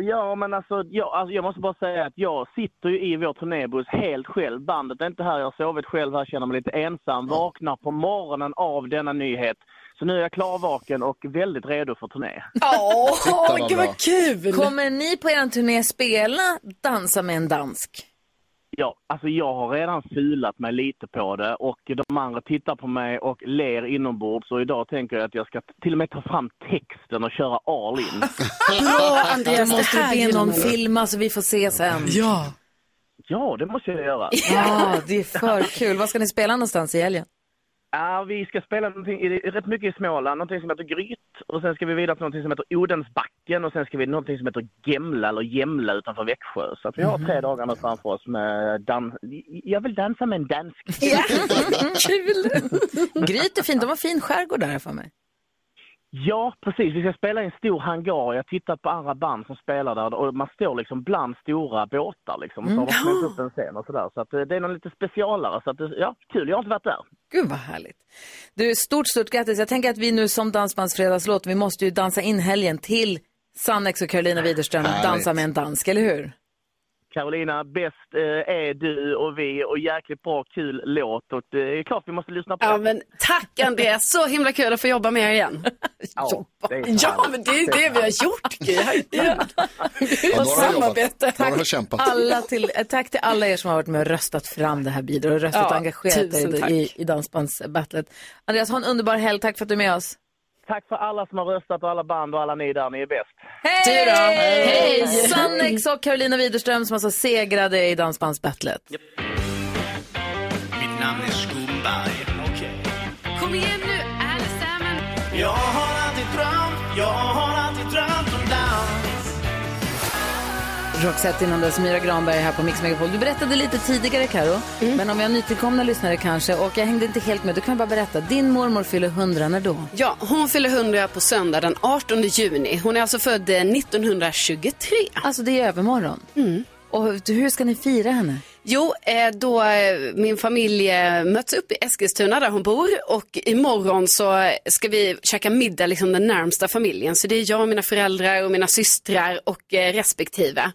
Speaker 22: Ja, men alltså jag, alltså jag måste bara säga att jag sitter ju i vår turnébuss helt själv. Bandet är inte här, jag har sovit själv här, känner mig lite ensam. Vaknar på morgonen av denna nyhet. Så nu är jag klarvaken och väldigt redo för turné. Titta, vad
Speaker 1: Åh,
Speaker 22: gud, vad bra.
Speaker 1: kul! Kommer ni på er turné spela Dansa med en dansk?
Speaker 22: Ja, alltså jag har redan fulat mig lite på det och de andra tittar på mig och ler inombords och idag tänker jag att jag ska till och med ta fram texten och köra all in.
Speaker 1: Åh, Andreas,
Speaker 22: det
Speaker 1: måste
Speaker 22: här
Speaker 1: du be
Speaker 22: gillar
Speaker 1: någon
Speaker 22: man.
Speaker 1: filma så vi får se sen.
Speaker 22: Ja. Ja, det måste jag göra.
Speaker 1: Ja, det är för kul. Vad ska ni spela någonstans i helgen?
Speaker 22: Ja, vi ska spela någonting, i- rätt mycket i Småland, någonting som heter Gryt och sen ska vi vidare till någonting som heter Odensbacken och sen ska vi till någonting som heter Gemla eller Gemla utanför Växjö. Så att vi har tre dagar nu framför oss med dans... Jag vill dansa med en dansk.
Speaker 1: <laughs> Kul! <laughs> Gryt är fint. De har fin skärgård där för mig.
Speaker 22: Ja, precis. Vi ska spela i en stor hangar. Jag tittar på andra band som spelar där och man står liksom bland stora båtar liksom. Och så har de
Speaker 1: Mm.
Speaker 22: slängt
Speaker 1: <gasps>
Speaker 22: upp en scen och sådär. Så att eh, det är någon lite specialare. Så att, det- ja, kul. Jag har inte varit där.
Speaker 1: Gud vad härligt. Du, stort, stort grattis. Jag tänker att vi nu som Dansbandsfredagslåt, vi måste ju dansa in helgen till Sannex och Carolina Widerström,
Speaker 22: Härligt.
Speaker 1: Dansa med en dansk, eller hur?
Speaker 22: Carolina, bäst eh, är du och vi och jäkligt bra kul låt och eh, det är klart vi måste lyssna på
Speaker 3: Ja, men <laughs> tack Andreas, så himla kul att få jobba med er igen.
Speaker 22: det. är
Speaker 3: Ja, men det är det vi har gjort. Gry. Herregud.
Speaker 1: Ja,
Speaker 3: Och
Speaker 1: då har jag
Speaker 3: samarbete.
Speaker 1: jobbat. Då har jag kämpat. Alla till, eh, tack till alla er som har varit med och röstat fram det här bidraget och röstat
Speaker 3: Ja,
Speaker 1: och engagerat
Speaker 3: tusen
Speaker 1: er
Speaker 3: tack.
Speaker 1: i, i, i dansbandsbattlet. Andreas, ha en underbar helg. Tack för att du är med oss.
Speaker 22: Tack för alla som har röstat och alla band och alla ni där, ni är bäst.
Speaker 1: Hej!
Speaker 22: då!
Speaker 1: Hej!
Speaker 22: Hej!
Speaker 1: Sannex och Carolina Widerström som alltså segrade i dansbandsbattlet.
Speaker 5: Mitt namn är Skumberg. Okej.
Speaker 3: Kom igen nu, allesammans.
Speaker 5: Jag har alltid drömt, jag har alltid drömt om dans.
Speaker 1: Roxette innan dess, Myra Granberg här på Mix Megapol. Du berättade lite tidigare Karo,
Speaker 3: Mm.
Speaker 1: men om jag har nytillkomna lyssnare kanske och jag hängde inte helt med, du kan jag bara berätta. Din mormor fyller 100 när då?
Speaker 3: Ja, hon fyller 100 på söndag den 18 juni. Hon är alltså född eh, 1923.
Speaker 1: Alltså det är övermorgon. Mm. Och hur ska ni fira henne?
Speaker 3: Jo, eh, då eh, min familj eh, möts upp i Eskilstuna där hon bor och imorgon så eh, ska vi käka middag, liksom den närmsta familjen. Så det är jag och mina föräldrar och mina systrar och eh, respektive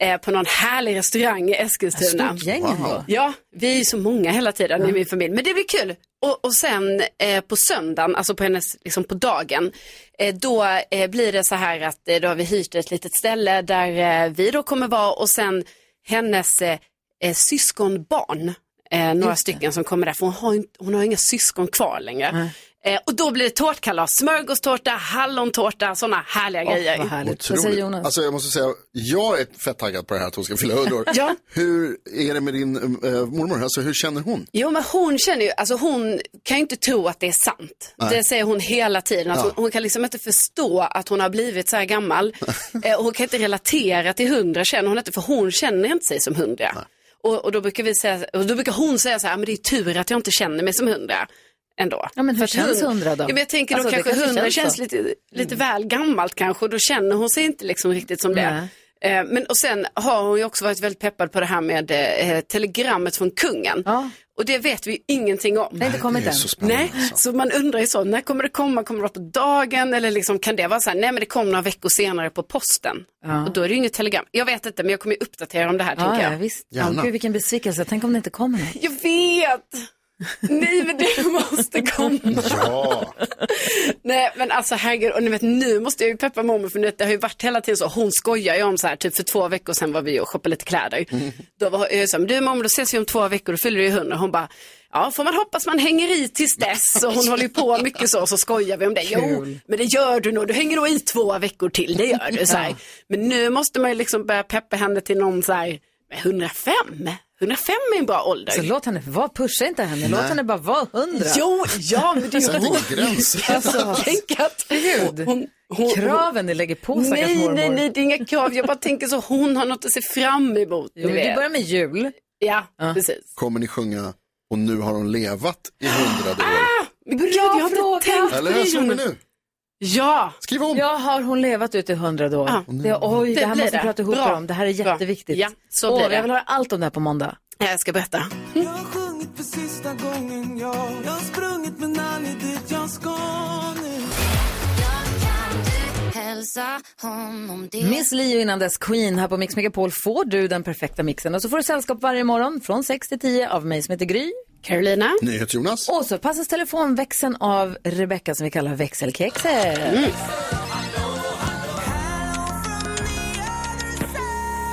Speaker 3: eh, på någon härlig restaurang i Eskilstuna.
Speaker 1: Stort gäng ändå.
Speaker 3: Ja, vi är ju så många hela tiden i min familj. Men det blir kul. Och, och sen eh, på söndagen, alltså på, hennes, liksom på dagen, eh, då eh, blir det så här att eh, då har vi hyrt ett litet ställe där eh, vi då kommer vara och sen hennes eh, eh, syskonbarn, eh, några stycken som kommer där, för hon har, ju inte, hon har inga syskon kvar längre. Eh, och då blir det tårtkalas, smörgåstårta, hallontårta, sådana härliga grejer.
Speaker 2: Otroligt. Alltså jag måste säga, jag är fett taggad på det här att hon ska fylla 100 år.
Speaker 3: Ja.
Speaker 2: Hur är det med din eh, mormor? Alltså hur känner hon?
Speaker 3: Jo men hon känner ju, alltså hon kan ju inte tro att det är sant.
Speaker 2: Nej.
Speaker 3: Det säger hon hela tiden. Att
Speaker 2: Ja.
Speaker 3: hon, hon kan liksom inte förstå att hon har blivit så här
Speaker 2: <laughs>
Speaker 3: gammal. eh, och hon kan inte relatera till hundra känner hon inte, för hon känner inte sig som hundra. Och, och, då brukar vi säga, och då brukar hon säga så här, men det är tur att jag inte känner mig som hundra. Ändå.
Speaker 1: Ja, men hur
Speaker 3: För att
Speaker 1: känns
Speaker 3: hund-
Speaker 1: hundra då?
Speaker 3: Ja, men jag tänker
Speaker 1: Alltså,
Speaker 3: då
Speaker 1: det
Speaker 3: kanske
Speaker 1: kanske
Speaker 3: hundra
Speaker 1: känns
Speaker 3: känns,
Speaker 1: så.
Speaker 3: lite, lite
Speaker 1: Mm.
Speaker 3: väl gammalt kanske och då känner hon sig inte liksom riktigt som det. Eh, Men och sen har hon ju också varit väldigt peppad på det här med eh, telegrammet från kungen. Och det vet vi ju ingenting om. Nej,
Speaker 1: det kommer
Speaker 2: Det är inte än. så spännande, alltså.
Speaker 3: nej, så man undrar ju så, när kommer det komma? Kommer det vara på dagen? Eller liksom, kan det vara så här, nej men det kom några veckor senare på posten.
Speaker 1: Ja.
Speaker 3: Och då är det ju inget telegram. Jag vet inte, men jag kommer ju uppdatera om det här,
Speaker 1: Ja,
Speaker 3: tänker jag.
Speaker 1: ja, visst. Ja, Gud, vilken besvikelse. Tänk om det inte kommer något.
Speaker 3: Jag vet! Nej, men det måste komma. Nej, men alltså herregud, och ni vet nu måste jag ju peppa mormor för nu, det har ju varit hela tiden så, hon skojar ju om så här, typ för två veckor sedan var vi och shoppade lite kläder. Då var jag så här, "Men du mormor, då ses vi om två veckor, då fyller du ju hundra. Hon bara, ja får man hoppas man hänger i tills dess. Och hon håller
Speaker 1: <laughs>
Speaker 3: ju på mycket så, så skojar vi om det. Jo,
Speaker 1: Kul.
Speaker 3: men det gör du nog, du hänger nog i två veckor till, det gör du. Så här.
Speaker 1: Ja.
Speaker 3: Men nu måste man ju liksom börja peppa henne till någon så här, "Men 105, 105 är en bra ålder.
Speaker 1: Så låt henne vara, pusha inte henne, låt
Speaker 3: Nej.
Speaker 1: henne bara vara hundra.
Speaker 3: Jo, ja, men det är ju Sätt en hon. Alltså, <laughs>
Speaker 1: <laughs>
Speaker 3: gräns.
Speaker 1: Alltså,
Speaker 3: Tänk att
Speaker 1: Gud, kraven ni lägger på stackars
Speaker 3: nej,
Speaker 1: mormor.
Speaker 3: nej, nej, det är inga krav. Jag bara tänker så hon har något att se fram emot.
Speaker 1: Jo, men du börjar med jul.
Speaker 3: Ja, precis.
Speaker 2: Kommer ni sjunga och nu har hon levat i
Speaker 3: Ah!
Speaker 2: hundrade år?
Speaker 3: Men Gud, jag har inte tänkt på
Speaker 2: Eller hur såg det
Speaker 3: Jonas.
Speaker 2: nu?
Speaker 3: Ja.
Speaker 2: Skriv om.
Speaker 1: Ja, har hon levat ut i hundrade år?
Speaker 3: Ja.
Speaker 1: Det, oj, det,
Speaker 3: Det
Speaker 1: här
Speaker 3: blir
Speaker 1: måste vi
Speaker 3: det.
Speaker 1: prata ihop
Speaker 3: Bra.
Speaker 1: er om. Det här är
Speaker 3: Bra.
Speaker 1: jätteviktigt.
Speaker 3: Ja, så blir
Speaker 1: Åh,
Speaker 3: det.
Speaker 1: Jag vill höra allt om det här på måndag.
Speaker 3: Jag ska berätta.
Speaker 5: Jag har sjungit för sista gången, jag. Jag har sprungit med Nanny dit jag ska nu.
Speaker 23: Hälsa honom det.
Speaker 1: Miss Li och innan dess Queen här på Mix Megapol får du den perfekta mixen. Och så får du sällskap varje morgon från 6 till 10 av mig som heter Gry.
Speaker 3: Carolina.
Speaker 2: Jonas.
Speaker 1: Och så passas telefonväxeln av Rebecca som vi kallar växelkexet.
Speaker 3: Mm.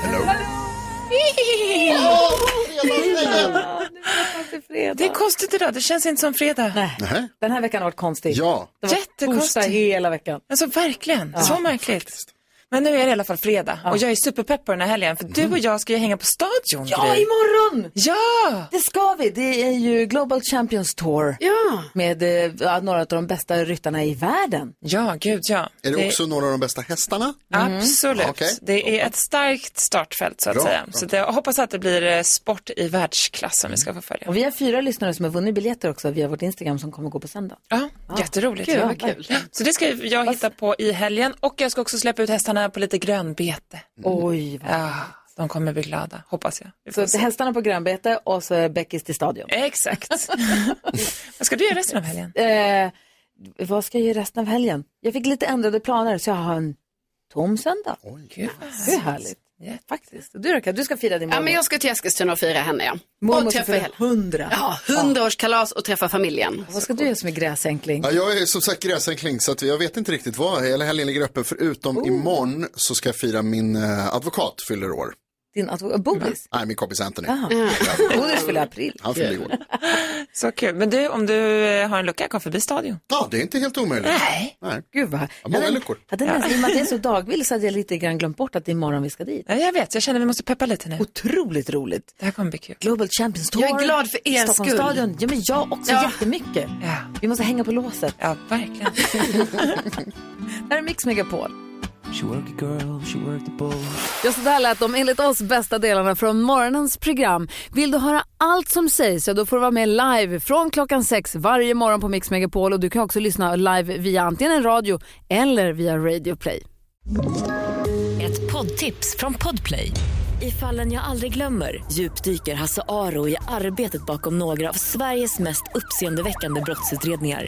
Speaker 2: Hello.
Speaker 1: Åh, fredag.
Speaker 12: Det är konstigt idag, det känns inte som fredag.
Speaker 2: Nej.
Speaker 1: Den här veckan har varit konstig.
Speaker 2: Ja.
Speaker 1: Det var torsdag hela veckan.
Speaker 12: Alltså verkligen,
Speaker 1: Ja.
Speaker 12: så märkligt. Men nu är det i alla fall fredag och jag är superpepp på den här helgen för du och jag ska ju hänga på Stadion.
Speaker 1: Mhm. Ja,
Speaker 12: Gry.
Speaker 1: imorgon!
Speaker 12: Ja!
Speaker 1: Det ska vi. Det är ju Global Champions Tour.
Speaker 12: Ja.
Speaker 1: Med eh, ja, några av de bästa ryttarna i världen.
Speaker 12: Ja, gud ja.
Speaker 2: Är det också några av de bästa hästarna?
Speaker 1: Mm.
Speaker 12: Absolut.
Speaker 2: Okej.
Speaker 12: Det är ett starkt startfält så att
Speaker 2: Bra,
Speaker 12: säga.
Speaker 2: bra.
Speaker 12: Så det, jag hoppas att det blir eh, sport i världsklass som vi
Speaker 2: Mm.
Speaker 12: ska få följa.
Speaker 1: Och vi har fyra lyssnare som har vunnit biljetter också via vårt Instagram som kommer gå på söndag.
Speaker 12: Ja, jätteroligt.
Speaker 1: Gud,
Speaker 12: ja.
Speaker 1: vad kul.
Speaker 12: Ja, Så det ska jag hitta på i helgen och jag ska också släppa ut hästarna på lite grönbete.
Speaker 2: Mm.
Speaker 1: Oj, vad
Speaker 12: ja, De kommer bli glada, hoppas jag. Vi får
Speaker 1: Så
Speaker 12: se.
Speaker 1: hästarna på grönbete och så är Beckis till stadion.
Speaker 12: Exakt. Vad ska du göra resten av helgen?
Speaker 1: <laughs> Eh, vad ska jag göra resten av helgen? Jag fick lite ändrade planer så jag har en tom söndag.
Speaker 12: Gud,
Speaker 1: det är härligt. Faktiskt. Och Du Röka, du ska fira din
Speaker 3: Ja,
Speaker 1: mormor.
Speaker 3: men jag ska till Eskilstuna och fira henne, ja.
Speaker 1: Mormor
Speaker 3: och
Speaker 1: ska
Speaker 3: träffa
Speaker 1: fira
Speaker 3: hela.
Speaker 1: hundra.
Speaker 3: Ja, hundraårskalas och träffa familjen.
Speaker 1: Vad ska du göra som är gräsänkling?
Speaker 2: Ja, jag är som sagt gräsänkling så att jag vet inte riktigt vad hela helgen ligger öppen. Förutom imorgon så ska jag fira min eh, advokat fyller år.
Speaker 1: Din advokat, Bodis?
Speaker 2: Nej, min kompis Anthony.
Speaker 1: Jaha. Bodis fyller i april.
Speaker 2: Han fyller igår.
Speaker 12: <laughs> Så kul. Men du, om du eh, har en lucka, kom förbi Stadion.
Speaker 2: Ja, det är inte helt omöjligt.
Speaker 12: Nej.
Speaker 2: Nej.
Speaker 1: Gud vad...
Speaker 2: Ja, många
Speaker 1: Jag
Speaker 2: luckor.
Speaker 1: hade nästan, I och med att
Speaker 12: <laughs>
Speaker 1: jag är så dagvill så hade jag lite grann glömt bort att det är imorgon vi ska dit.
Speaker 12: Ja, jag vet, jag känner vi måste peppa lite nu.
Speaker 1: Otroligt roligt.
Speaker 12: Det här kommer bli kul.
Speaker 1: Global Champions Tour.
Speaker 12: Jag är glad för er
Speaker 1: Stockholms
Speaker 12: skull.
Speaker 1: Stadion. Ja, men jag också
Speaker 12: Ja.
Speaker 1: jättemycket.
Speaker 12: Ja.
Speaker 1: Vi måste hänga på låset.
Speaker 12: Ja, verkligen. <laughs>
Speaker 1: det <laughs> här är Mix Megapol.
Speaker 5: She work a girl, she work the bull.
Speaker 1: Ja, så där lät de enligt oss bästa delarna från morgonens program. Vill du höra allt som sägs så då får du vara med live från klockan sex varje morgon på Mix Megapol. Och du kan också lyssna live via antingen en radio eller via Radio Play.
Speaker 11: Ett poddtips från Podplay. I fallen jag aldrig glömmer djupdyker Hasse Aro i arbetet bakom några av Sveriges mest uppseendeväckande brottsutredningar.